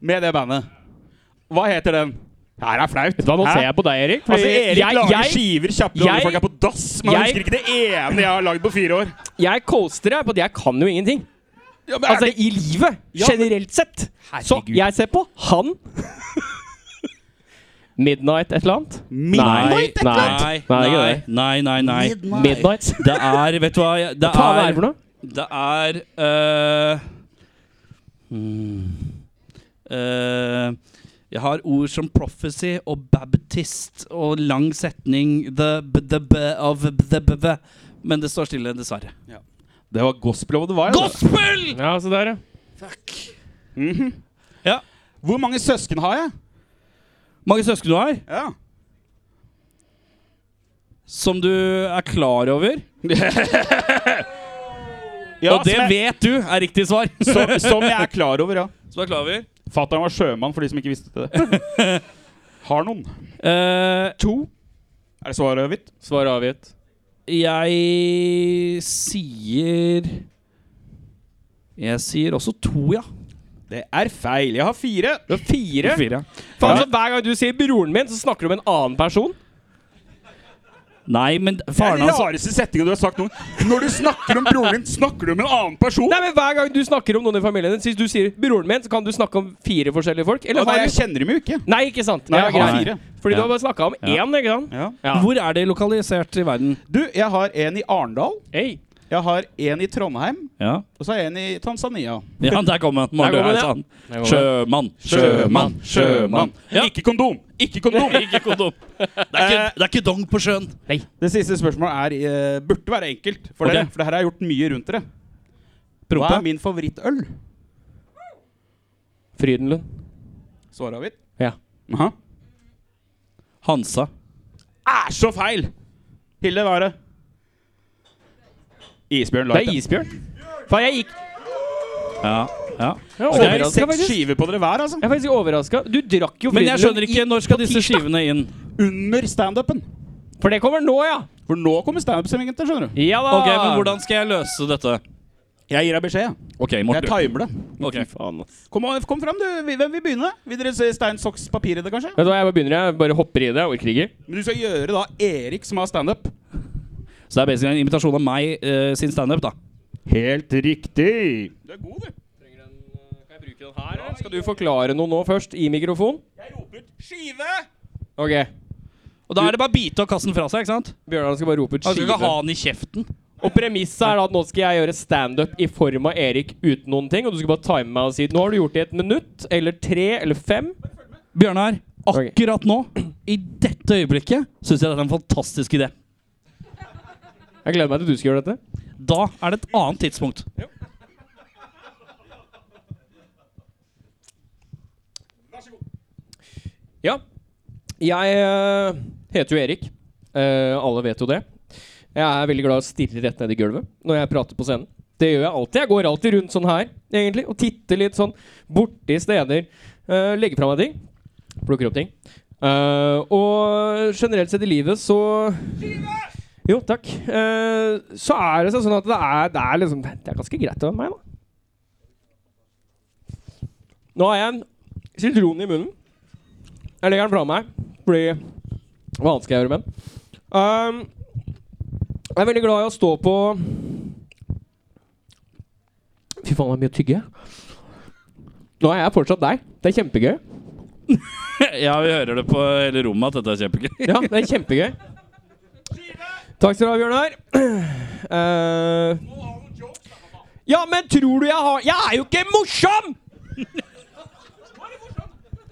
med det bandet. Hva heter den? Her er flaut. Da, nå Hæ? ser jeg på deg, Erik. fordi Altså, Erik jeg, lager jeg, skiver kjappere jeg- enn folk er på dass. Men jeg jeg- husker ikke det ene jeg har lagd på fire år. jeg coaster deg på at jeg kan jo ingenting. Ja, men er Altså, det- i livet. Ja, men- generelt sett. Så jeg ser på han. Midnight et eller annet. Nei, Midnight, et eller nei, annet? Nei, det er ikke nei, nei, nei, nei. Midnight. Det er Vet du hva jeg- Det Faen, hva er er det for noe? Det er eh, hmm, eh, Jeg har ord som prophecy og baptist og lang setning the, b, the, b, of the, b, b, Men det står stille, dessverre. Det var altså. gospel of the wild. Gospel! Ja, se der, ja. ja. Hvor mange søsken har jeg? Mange søsken du har? Ja. Som du er klar over? Ja, og det som jeg- vet du er riktig svar. Som, som jeg er klar over, ja. Som du er klar over? Fatter'n var sjømann, for de som ikke visste det. Har noen. Eh, to. Er det svaret mitt? Svar avgitt. Jeg sier Jeg sier også to, ja. Det er feil. Jeg har fire. Du har fire? Fire. Faen, så Hver gang du sier 'broren min', så snakker du om en annen person? Nei, men Det er faren den hans rareste setningen du har sagt noen Når du snakker om broren din, snakker du om en annen person? Nei, men Hver gang du snakker om noen i familien din, hvis du sier 'broren min', så kan du snakke om fire forskjellige folk? Eller Og nei, har jeg du kjenner dem jo ikke. Nei, ikke sant? Nei, Ja, jeg har greit. fire. Fordi du Ja. har bare snakka om Ja. én, ikke sant? Ja. Ja. Hvor er det lokalisert i verden? Du, jeg har en i Arendal. Hey. Jeg har en i Trondheim. Ja, Og så har jeg en i Tanzania. ja der kom han. Morten Der kom han, ja. Reisan. Der kom han. Sjømann, sjømann, sjømann. Ja. Ikke kondom! Ikke kondom! Ikke kondom. Eh. Det er ikke, det er ikke dong på sjøen. Det siste spørsmålet er, eh, burde være enkelt for Ok. dere, for det her har jeg gjort mye rundt dere. Hva Prompe. er min favorittøl? Frydenlund. Svaret mitt? Ja. Aha. Hansa. Er Ah, så feil! Hilde, hva er det? Isbjørn Det Light. er isbjørn. Faen, jeg gikk Ja, ja. Jeg Det er overraska, seks faktisk. skiver på dere hver, altså. Jeg er faktisk overraska. Du drakk jo Men jeg Frydenlund skjønner ikke, i- når skal disse skivene inn? Under standupen. For det kommer nå, ja! For nå kommer standup-sendingen til, skjønner du. Ja da! Ok, men Hvordan skal jeg løse dette? Jeg gir deg beskjed. Ok, Jeg Morten. timer det. Ok. Kom, kom fram, du. Hvem vil begynne? Vil dere se stein, saks, papir i det, kanskje? Vet du hva, jeg bare begynner. Jeg bare hopper i det. Jeg orker ikke. Men du skal gjøre da Erik, som har standup. Så det er basically en invitasjon av meg eh, sin standup, da. Helt riktig. Du er god, du. Kan jeg bruke den her? eller? Skal du forklare noe nå først, i mikrofon? Jeg roper ut 'skive'! Ok. Og da er det bare å bite og kaste den fra seg, ikke sant? Bjørnar skal bare rope ut Han Altså, skal ikke ha skive. den i kjeften. Og premisset er da at nå skal jeg gjøre standup i form av Erik uten noen ting, og du skal bare time meg og si nå har du gjort det i et minutt, eller tre, eller fem. Bjørnar, Ok. akkurat nå, i dette øyeblikket, syns jeg dette er en fantastisk idé. Jeg gleder meg til du skal gjøre dette. Da er det et annet tidspunkt. Ja. Jeg øh, heter jo Erik. Eh, alle vet jo det. Jeg er veldig glad i å stirre rett ned i gulvet når jeg prater på scenen. Det gjør jeg alltid. Jeg går alltid rundt sånn her egentlig, og titter litt sånn borti steder. eh, legger fra meg ting. Plukker opp ting. Eh, og generelt sett i livet så Jo, takk. Eh, så er det sånn at det er, det er liksom Det er ganske greit å være meg, da. Nå har jeg en sitron i munnen. Jeg legger den fra meg. Fordi Hva annet skal jeg gjøre med den? Ehm, jeg er veldig glad i å stå på Fy faen, det er mye å tygge. Nå er jeg fortsatt deg. Det er kjempegøy. Ja, vi hører det på hele rommet at dette er kjempegøy. Ja, det er kjempegøy. Takk skal du ha, Bjørnar. Eh, ja, men tror du jeg har Jeg er jo ikke morsom!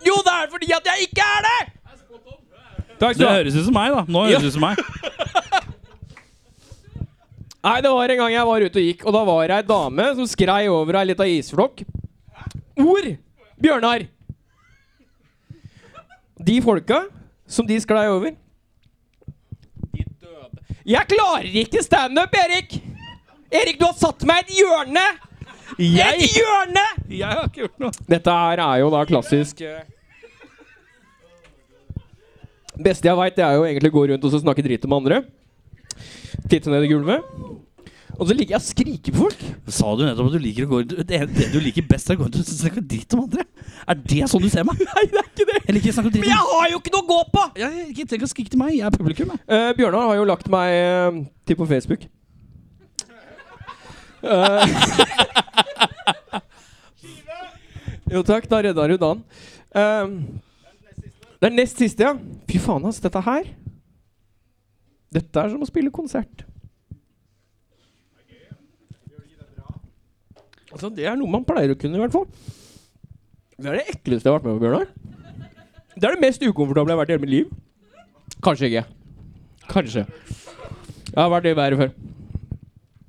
Jo, det er fordi at jeg ikke er det! Takk Det høres ut som meg, da. Nå Ja. høres det ut som meg. Nei, det var en gang jeg var ute og gikk, og da var det ei dame som skrei over ei lita isflokk. Ord! Bjørnar. De folka som de sklei over De døde. Jeg klarer ikke standup, Erik! Erik, du har satt meg i et hjørne! Et hjørne! Jeg har ikke gjort noe. Dette her er jo da klassisk eh, Beste jeg veit, er jo egentlig å gå rundt og så snakke dritt om andre. Titte ned i gulvet. Og så ligger jeg og skriker på folk. Sa du nettopp at du liker å gå rundt Det, det du liker best, er å gå rundt og snakke dritt om andre? Er det sånn du ser meg? Nei, det er ikke det. Jeg liker å snakke dritt Men jeg om har jo ikke noe å gå på! Jeg jeg ikke trenger å skrike til meg. Jeg er publikum, jeg. Eh, Bjørnar har jo lagt meg eh, til på Facebook. Eh, jo takk, da redda du dagen. Eh, det er nest siste, ja. Fy faen, ass. Dette her Dette er som å spille konsert. Altså, det er noe man pleier å kunne, i hvert fall. Det er det ekleste jeg har vært med på, Bjørnar. Det er det mest ukomfortable jeg har vært i hele mitt liv. Kanskje ikke. Kanskje. Jeg har vært i været før.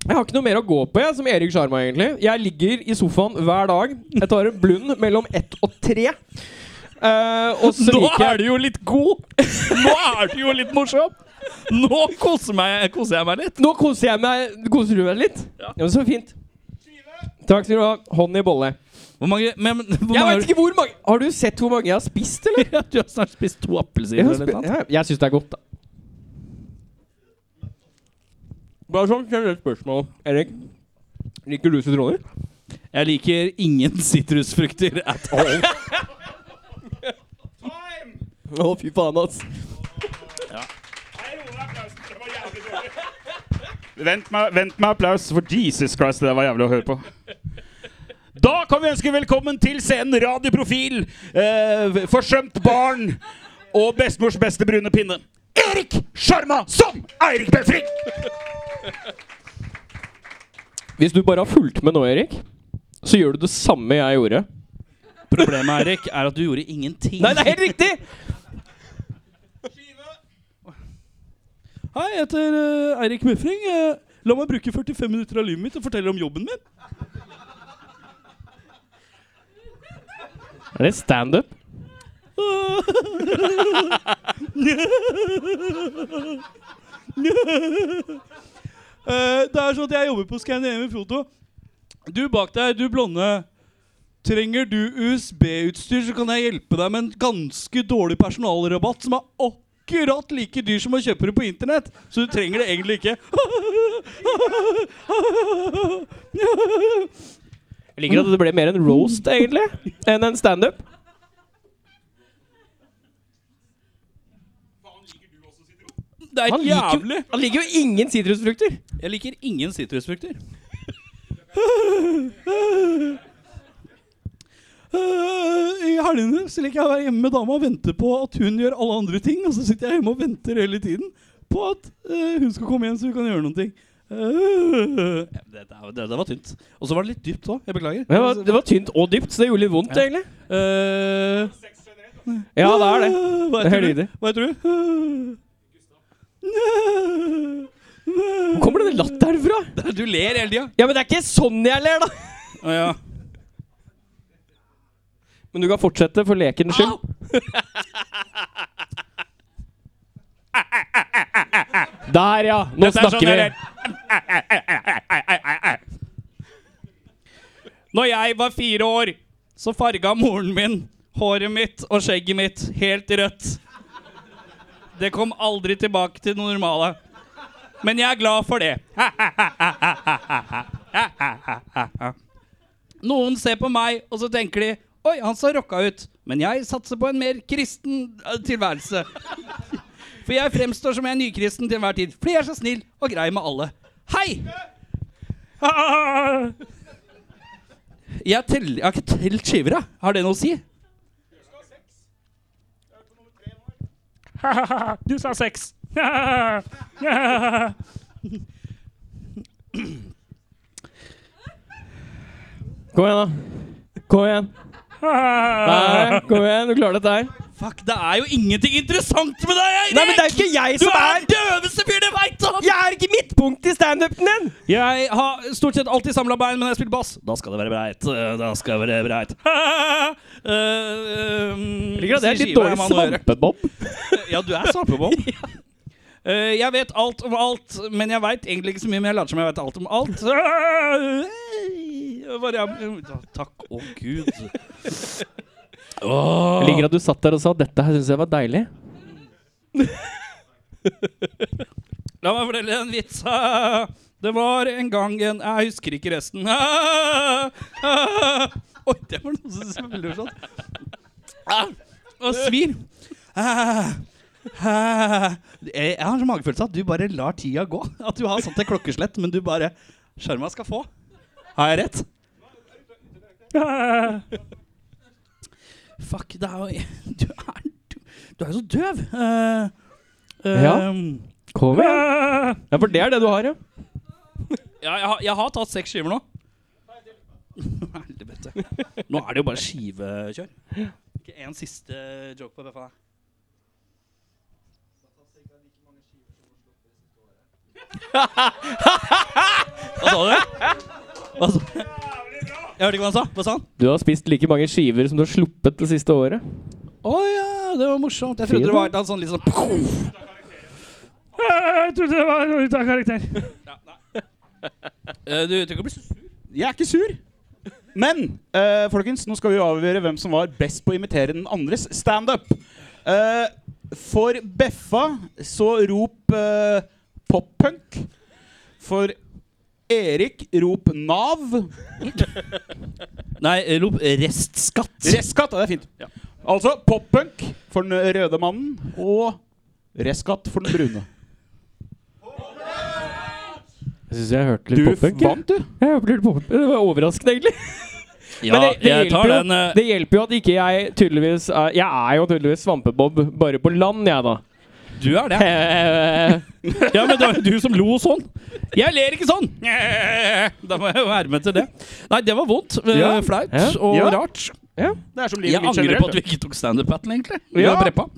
Jeg har ikke noe mer å gå på jeg, som Erik Sjarma, egentlig. Jeg ligger i sofaen hver dag. Jeg tar en blund mellom ett og tre. Eh, og så Nå liker jeg er du jo litt god! Nå er du jo litt morsom! Nå koser, meg, koser jeg meg litt. Nå koser jeg meg. Koser du deg litt? Ja. men så fint. Takk skal du ha. Hånd i bolle. Hvor mange, men, hvor Jeg mange vet ikke hvor mange Har du sett hvor mange jeg har spist, eller? Ja, du har snart spist to appelsiner Jeg, har eller spi- noe sånt. ja, jeg syns det er godt, da. Bare sånn generelt spørsmål, Erik. Liker du sitroner? Jeg liker ingen sitrusfrukter at all. Å, fy faen, ass. Vent med, vent med applaus, for Jesus Christ, det der var jævlig å høre på. Da kan vi ønske velkommen til scenen Radioprofil, eh, Forsømt barn og Bestemors beste brune pinne. Erik Sjarma som Eirik Befring! Hvis du bare har fulgt med nå, Erik, så gjør du det samme jeg gjorde. Problemet Erik, er at du gjorde ingenting. Nei, det er helt riktig! Hei, jeg heter eh, Eirik Befring. Eh, la meg bruke 45 minutter av livet mitt og fortelle om jobben min. Er det standup? Eh, det er sånn at jeg jobber på Scandinavian Photo. Du bak der, du blonde. Trenger du USB-utstyr, så kan jeg hjelpe deg med en ganske dårlig personalrabatt som er akkurat like dyr som å kjøpe det på internett. Så du trenger det egentlig ikke. Jeg liker at det ble mer en roast, egentlig, enn en standup. Det er Han liker jo- jævlig. Han liker jo ingen sitrusfrukter. Jeg liker ingen sitrusfrukter. I helgene så liker jeg å være hjemme med dama og vente på at hun gjør alle andre ting. Og så sitter jeg hjemme og venter hele tiden på at eh, hun skal komme hjem, så vi kan gjøre noen ting. Eh, det, det, det, det var tynt. Og så var det litt dypt òg. Jeg beklager. Men det, var, det var tynt og dypt, så det gjorde litt vondt, Ja. egentlig. Eh, Ja, det er det. Hva Det er heter helt du? riktig. Hva heter du? Hvor kommer denne latteren fra? Du ler hele tida. Ja, men det er ikke sånn jeg ler, da! ja. Men du kan fortsette for lekens skyld. Der, ja. Nå Dette er snakker sånn vi. jeg ler. Når jeg var fire år, så farga moren min håret mitt og skjegget mitt helt rødt. Det kom aldri tilbake til det normale. Men jeg er glad for det. Noen ser på meg, og så tenker de Oi, han så rocka ut. Men jeg satser på en mer kristen eh, tilværelse. For jeg fremstår som jeg er nykristen til enhver tid. Fordi jeg er så snill og grei med alle. Hei! Jeg, tell, jeg har ikke telt skiver, jeg. Har det noe å si? Du sa seks. Kom igjen, da. Kom igjen. Nei, kom igjen. Du klarer dette her. Fuck, det er jo ingenting interessant med deg, Eirik! Nei, men det er ikke jeg du som er er den døveste fyren jeg veit om! Jeg er ikke midtpunkt i standupen din! Jeg har stort sett alltid samla bein, men når jeg spiller bass, da skal det være breit. Eh, Da skal det være breit. Eh, um, Ligger det, det sier er litt skiva, jeg dårlig må ha noe å gjøre. svampebob. Ja, du er svampebob. Eh, jeg vet alt om alt, men jeg veit egentlig ikke så mye. Men jeg later som jeg vet alt om alt. Eh, Bare, ja, takk og gud. Jeg liker at du satt der og sa 'dette her syns jeg var deilig'. La meg fortelle en vits. Det var en gang en Jeg husker ikke resten. Oi, det var noe som spilte sånn. Og svir. Jeg har så magefølelse at du bare lar tida gå. At du har sånt et klokkeslett, men du bare Sjarma skal få. Har jeg rett? Fuck, det er jo Du er, du, du er jo så døv. Eh, eh, Ja. Kom igjen. Ja, for det er det du har, ja. Ja, jeg, har- jeg har tatt seks skiver nå. Helvete. Nå er det jo bare skivekjør. Ikke en siste joke på BFA. Hva sa du? Hva sa Jeg hørte ikke hva han sa. Hva sa han? Du har spist like mange skiver som du har sluppet det siste året. Å ja, det var morsomt. Jeg trodde det var en sånn litt sånn Jeg trodde det var ute av karakter. Eh, du trenger ikke å bli så sur. Jeg er ikke sur. Men eh, folkens, nå skal vi avgjøre hvem som var best på å imitere den andres standup. Uh, for Beffa så rop eh, pop-punk. For Erik rop Nav. Nei, rop restskatt. Restskatt, ja, det er fint. Altså pop-punk for den røde mannen og restskatt for den brune. Jeg syns jeg hørte litt pop-punk. Du vant, du. Jeg hørte litt pop-punk. Det var overraskende, egentlig. Ja, jeg tar hjelper jo, den, eh. det hjelper jo at ikke jeg tydeligvis er, Jeg er jo tydeligvis svampebob bare på land, jeg, da. Eh, Du er det. ja, men det var jo du som lo sånn. Jeg ler ikke sånn! Da må jeg jo være med til det. Nei, det var vondt. eh, Ja. Flaut Ja. og Ja. rart. Det er som Jeg livet angrer på mitt at vi generelt. ikke tok standup-battlen, egentlig. Vi Ja. var preppa.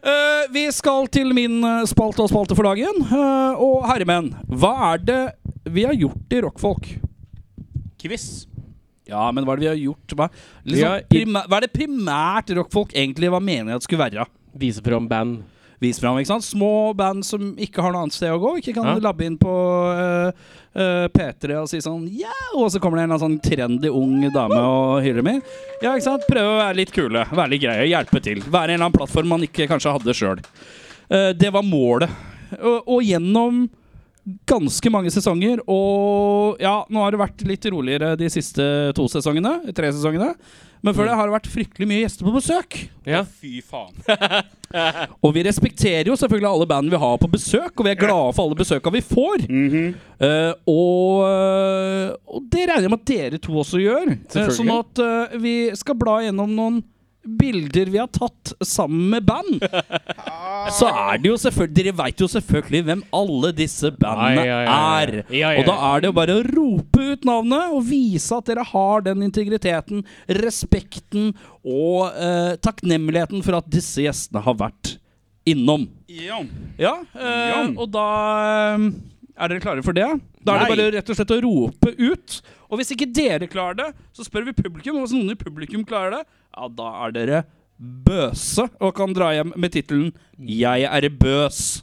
Eh, vi skal til min eh, spalte og spalte for dagen. Eh, og herremenn, hva er det vi har gjort i rockfolk? Quiz. Ja, men hva er det vi har gjort? Hva, Vi har liksom, i- primæ- hva er det primært rockfolk egentlig var meningen at skulle være? Vise fram band. Vise fram, ikke sant? Små band som ikke har noe annet sted å gå. Ikke kan Ja. labbe inn på eh, eh, P3 og si sånn Ja! Og så kommer det en eller annen sånn trendy ung dame og hyler med. Ja, ikke sant? Prøve å være litt kule, være litt greie, hjelpe til. Være en eller annen plattform man ikke kanskje hadde sjøl. Eh, det var målet. Og, og gjennom ganske mange sesonger. Og ja, nå har det vært litt roligere de siste to sesongene. Tre sesongene. Men før det har det vært fryktelig mye gjester på besøk. Mm. Ja. Fy faen. Og vi respekterer jo selvfølgelig alle bandene vi har på besøk, og vi er glade for alle besøka vi får. Mhm. Eh, og, eh, og det regner jeg med at dere to også gjør. Eh, Selvfølgelig. sånn at eh, vi skal bla gjennom noen bilder vi har tatt sammen med band. Så er det jo selvfølgelig Dere veit jo selvfølgelig hvem alle disse bandene Ai, ai, ai, ai. er. Ja, ja, Og da ja. er det jo bare å rope ut navnet og vise at dere har den integriteten, respekten og eh, takknemligheten for at disse gjestene har vært innom. Ja. Ja, eh, og da eh, Er dere klare for det? Da er det Nei. bare rett og slett å rope ut. Og hvis ikke dere klarer det, så spør vi publikum. Og hvis noen i publikum klarer det, ja, da er dere bøse og kan dra hjem med tittelen 'Jeg er bøs'.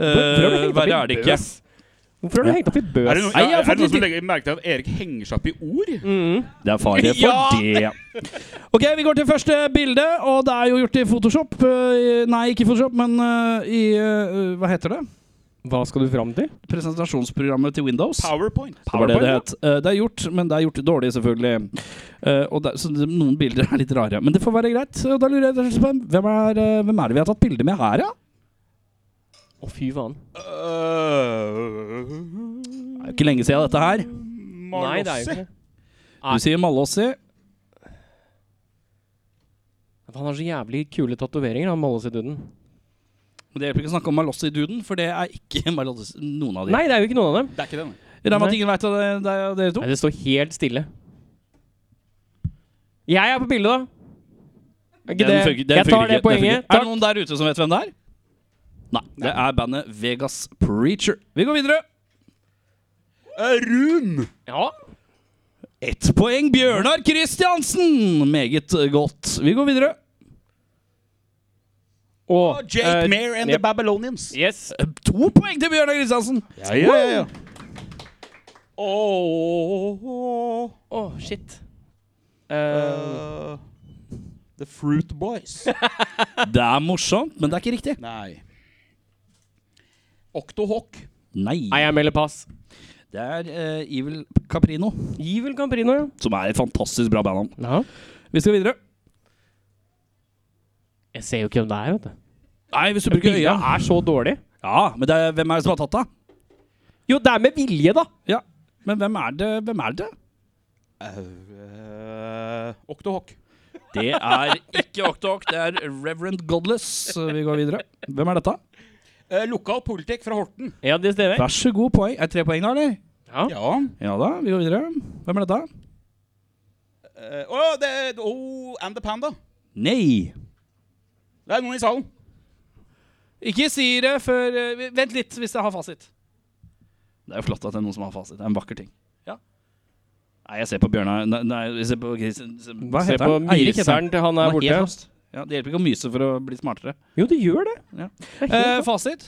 Eh, Hvorfor har du hengt opp i Verre er det ikke. bøs? Hvorfor har du hengt opp i bøs? Er det, noe- Nei, jeg har er det fått noen som litt- legger merke til at Erik henger seg opp i ord? Det er fare for Ja! det. Ok, vi går til første bilde, og det er jo gjort i Photoshop. Eh, Nei, ikke i Photoshop, men eh, i eh, Hva heter det? Hva skal du fram til? Presentasjonsprogrammet til Windows. PowerPoint. Det var det det PowerPoint, het. Eh, Det er gjort, men det er gjort dårlig, selvfølgelig. Eh, Og det, så det- noen bilder er litt rare. Men det får være greit. Og Da lurer jeg rett og slett på hvem er, eh, hvem er det vi har tatt bilde med her, ja? Å, fy faen. Uh, Det er jo ikke lenge siden dette her. Nei, det er jo ikke det. Du sier Malåsi. Han har så jævlig kule tatoveringer, han Mollesiduden. Men Det hjelper ikke å snakke om Malossi-duden, for det er ikke Malossi, noen av de. Nei, det er jo ikke noen av dem. Det er ikke det, nei. Jeg regner med at Nei. ingen vet at det det er dere to. Nei, det står helt stille. Jeg er på bildet, da. Er ikke det? Den funker- den jeg funker tar det ikke, den funker. poenget. Er det Takk. noen der ute som vet hvem det er? Nei. Det er bandet Vegas Preacher. Vi går videre. Eh, Rune. Ja. Ett poeng Bjørnar Kristiansen! Meget godt. Vi går videre. Og Jake Uh, eh, Mayer and the yep. Babylonians. Yes. To poeng til Bjørnar Kristiansen! Ja, ja, ja, ja. Å, shit. Eh, the Fruit Boys. Det er morsomt, men det er ikke riktig. nei. Octohawk. Nei. Nei, jeg melder pass. Det er eh, Evil Caprino, Evil Camprino, ja. som er et fantastisk bra bandnavn. ja. Vi skal videre. Jeg ser jo ikke hvem det er, vet du. Nei, hvis du bruker Bildet øya. er så dårlig. Ja, men det er, hvem er det som har tatt det? Jo, det er med vilje, da. Ja. Men hvem er det? Hvem er det? Uh, Octohawk. Det er ikke Oktok, det er Reverend Godless. Vi går videre. Hvem er dette? Eh, lokal politikk fra Horten. Ja, det stemmer. Vær så god, poeng. Er det tre poeng da, eller? Ja. Ja. Ja da, vi går videre. Hvem er dette? Eh, Å, det er oh, And the Panda. Nei. Det er noen i salen. Ikke si det før eh, Vent litt, hvis jeg har fasit. Det er jo flott at det er noen som har fasit. Det er en vakker ting. Ja. Nei, jeg ser på Bjørnar Nei, nei jeg ser på Christian. se- Hva ser heter han? Eirik heter Myseren til han er borte. helt lost. Ja, det hjelper ikke å myse for å bli smartere. Jo, det gjør det. Ja. Det er helt Eh, fasit?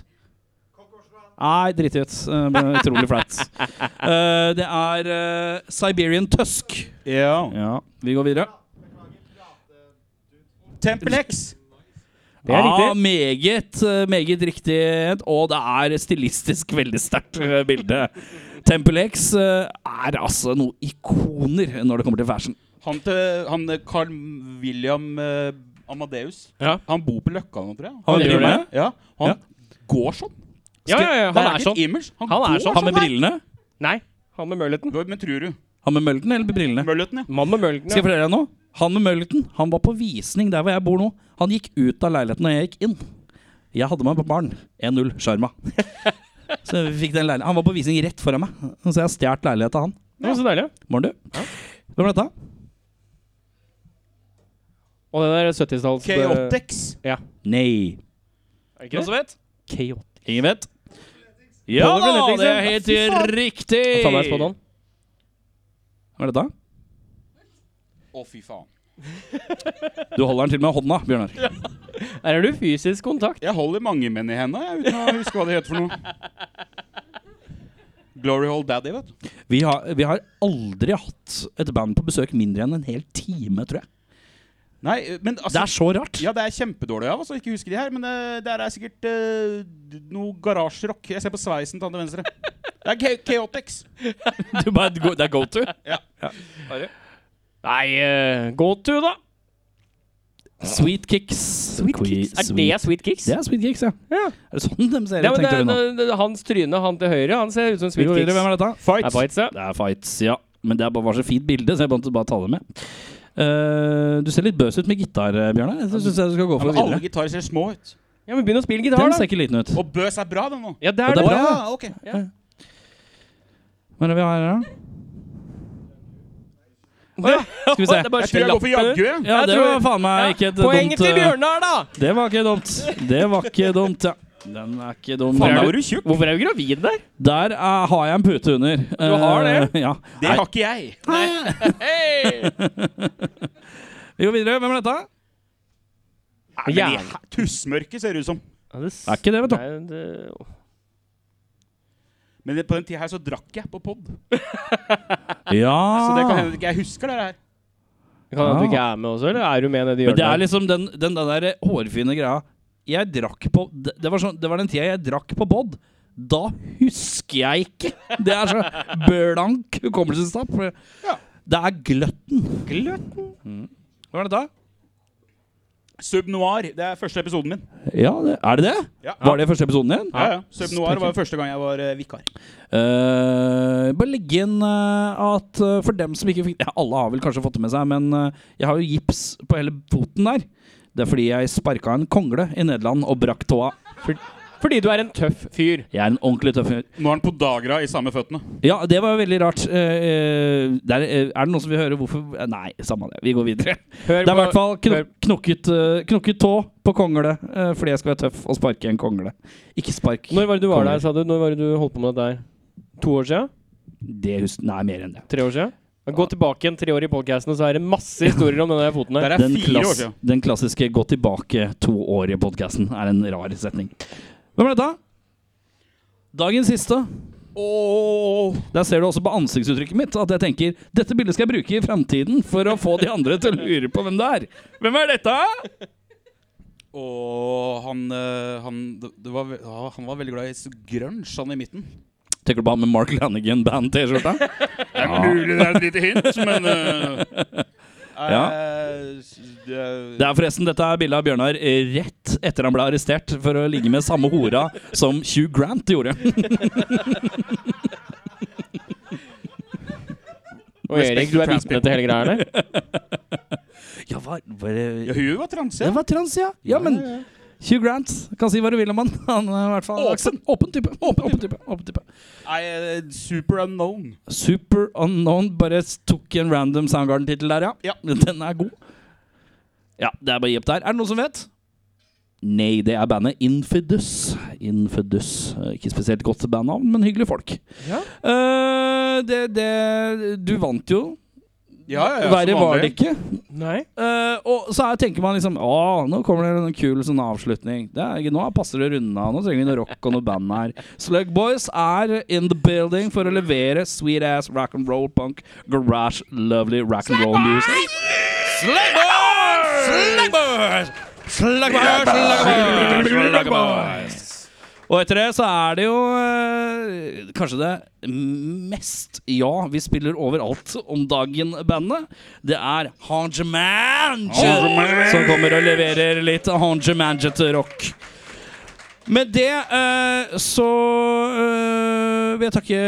Nei, drit i det. Eh, det ble Utrolig flaut. Eh, det er eh, Siberian Tusk. Ja. Vi går videre. Tempelhex. Det er ja, riktig. meget, eh, meget riktig. Og det er stilistisk veldig sterkt eh, bilde. Temple X eh, er altså noen ikoner når det kommer til fashion. Han til han eh, Carl William eh, Amadeus. Han bor på Løkka nå, tror jeg. Han gjør filmer det? Ja, han går sånn. Ja, ja, ja, han Det er ikke et sånn. Image. Han, Han er går sånn. Han med her. brillene? Nei, han med mølleten. Men tror du? Han med mølleten eller brillene? Mølleten, ja. Mann med mølleten, Skal jeg fortelle deg noe? Han med mølleten han var på visning der hvor jeg bor nå. Han gikk ut av leiligheten når jeg gikk inn. Jeg hadde meg på barn. 1-0, sjarma. Så vi fikk den leiligheten. Han var på visning rett foran meg, så jeg har stjålet leiligheten av han. Det var så deilig. Morn, du. Hvem er dette? Og det der 70-talls... Chaotix. Ja. Nei. Er Noen som vet? Chaotix. Ingen vet? Ja Paul da, Gulatingsson. det er helt Fy faen. riktig! Jeg tar meg en spådom. Hva er dette? Å, fy faen. Du holder den til med hånda, Bjørnar. Der er du fysisk kontakt. Jeg holder mange menn i henda jeg, uten å huske hva det heter for noe. Glory Hole Daddy, vet du. Vi har, vi har aldri hatt et band på besøk mindre enn en hel time, tror jeg. Nei, men altså, Det er så rart. Ja, det er kjempedårlig av oss å ikke huske de her, men det, der er sikkert eh, d- noe garasjerock. Jeg ser på sveisen til han til venstre. Det er Cha- Chaotix. Du bare, det er go to? Ja. Nei, eh, go to, da. Sweet Kicks. Sweet Kicks. Er det Sweet Kicks? Det er Sweet Kicks, ja. Er det sånn de ser Ja, ut, men det, tenkte vi nå. det, det, hans tryne, han til høyre, han ser ut som Vi Sweet går Kicks. videre. Hvem er dette? Det er Fights, ja. Det er Fights, ja. Men det er bare, var så fint bilde, så jeg måtte bare ta det med. Eh, du ser litt bøs ut med gitar, eh, Bjørnar. Så syns jeg du skal gå Ja, for men alle videre. gitarer ser små ut. Ja, men begynn å spille gitar, Den da. ser ikke liten ut. Og Bøs er bra, den nå. Ja, det Ja, er det det. er bra, Ja, ok. Ja. Hva er det vi har her, da? Skal vi se. Det er bare Jeg tror jeg går for slapp, Jaggu. jeg. Ja, Jeg det tror- var faen meg ikke et Poenget dumt til eh, Bjørnar, da! Det var ikke dumt. Det var ikke dumt, ja. Den er ikke dum. Faen, Der, er Var du tjukk? Hvorfor er du gravid der? der er, har jeg en pute under. Du har det? Eh, ja. Det har ikke jeg. Hey! Vi går videre. Hvem er dette? Nei, men i he- Tussmørke ser det ut som. Er ikke det, vet du. Men på den tida her så drakk jeg på pod. Ja. Så det kan hende ikke jeg husker det her. Kan hende du Ja. ikke er med også, eller er du med nede i Men det er hjørnet? liksom den, den der hårfine greia Jeg drakk på Det, det, var, sånn, det var den tida jeg drakk på Bodd. Da husker jeg ikke! Det er så blank hukommelsestap. Det er gløtten. Mm. Gløtten. Hva er dette? Subnoir. Det er første episoden min. Ja, det, er det det? Ja. Var det første episoden din? Ja, ja. Subnoir var første gang jeg var eh, vikar. Eh, bare legge inn eh, at eh, for dem som ikke fikk ja, Alle har vel kanskje fått det med seg, men eh, jeg har jo gips på hele foten der. Det er fordi jeg sparka en kongle i Nederland og brakk tåa. Fordi du er en tøff fyr. Jeg er en ordentlig tøff fyr. Nå er han på Dagra i samme føttene. Ja, det var veldig rart. Eh, eh, der, eh, er det noen som vil høre hvorfor eh, Nei, samme det. Vi går videre. Hør Det er i på- hvert fall kno hør- knokket, eh, knokket tå på kongle eh, fordi jeg skal være tøff og sparke en kongle. Ikke spark. Når var det du var Kommer. der, sa du? Når var det du holdt på med det der? To år siden? Det husker Nei, mer enn det. Tre år siden? Gå tilbake igjen tre år i podcasten, og så er det masse historier om den der foten Der der. er Den, fire år klass, siden. den klassiske 'gå tilbake to år i podkasten' er en rar setning. Hvem er dette? Dagens siste. Ååå. Der ser du også på ansiktsuttrykket mitt at jeg tenker 'dette bildet skal jeg bruke i framtiden' for å få de andre til å lure på hvem det er. Hvem er dette? Og han, eh, han, det det var, ve- ja, han var veldig glad i s- grunge, han i midten. Tenker du på han med Mark Lanigan-band-T-skjorta? Det er mulig det er et lite hint, men eh, Ja. Det er forresten, Dette er bildet av Bjørnar eh, rett etter han ble arrestert for å ligge med samme hora som Hugh Grant gjorde. Og Erik, du er vitne til hele greia, eller? Ja, hva, var det Ja, hun var transe. Det var trans, ja. Ja, men Hugh Grant. Kan si hva du vil om han. Han er i hvert fall Åpen. åpen type. Åpen, åpen type. Åpen type. Nei, eh, super unknown. Super Unknown bare tok en random Soundgarden-tittel der, ja. Den er god. Ja, det er bare å gi opp der. Er det noen som vet? Nei, det er bandet Infidus. Infidus. Eh, Ikke spesielt godt bandnavn, men hyggelige folk. Ja. Eh, det, det Du vant jo. Ja, ja, ja, som Verre var det vanlig. ikke. Eh, og så er, tenker man liksom Å, nå kommer det en kul sånn avslutning. Det er, ikke- nå passer det runda. Nå trenger vi noe rock og noe band her. Slug Boys er in the building for å levere sweet ass rock and roll punk garage lovely rock and roll music. Slugboys! Slugboys! Slugboys! Og etter det så er det jo eh, kanskje det mest ja vi spiller overalt om dagen-bandet. Det er Hanjamange som kommer og leverer litt Hanjamange til rock. Med det eh, så eh, vil jeg takke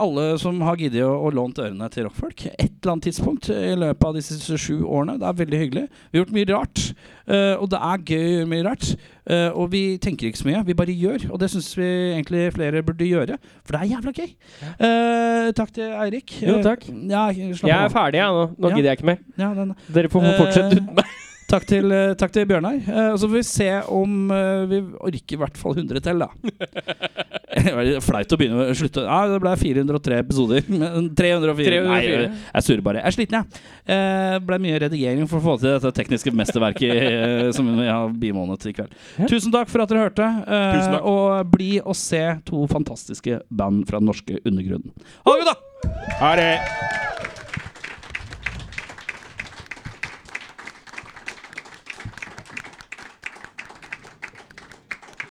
alle som har giddet å, å lånt ørene til rockfolk. Et eller annet tidspunkt i løpet av disse siste sju årene. Det er veldig hyggelig. Vi har gjort mye rart, eh, og det er gøy å gjøre mye rart. Eh, og vi tenker ikke så mye, vi bare gjør. Og det syns vi egentlig flere burde gjøre, for det er jævla gøy. Eh, takk til Eirik. Jo, takk. Eh, ja, slapp Jeg er av. ferdig, jeg nå. Nå Ja. gidder jeg ikke mer. Ja, den- Dere får fortsette Eh, uten meg. Takk til, eh, takk til Bjørnar. Eh, og så får vi se om eh, vi orker i hvert fall 100 til, da. Det var litt flaut å begynne å slutte. Ja, det ble 403 episoder. Men 304. 304. Nei, jeg, jeg surrer bare. Jeg er sliten, jeg. Eh, ble mye redigering for å få til dette tekniske mesterverket eh, som vi har bimånet i kveld. Tusen takk for at dere hørte. eh, Tusen takk. Og bli og se to fantastiske band fra den norske undergrunnen. Ha det godt, da! Ha det.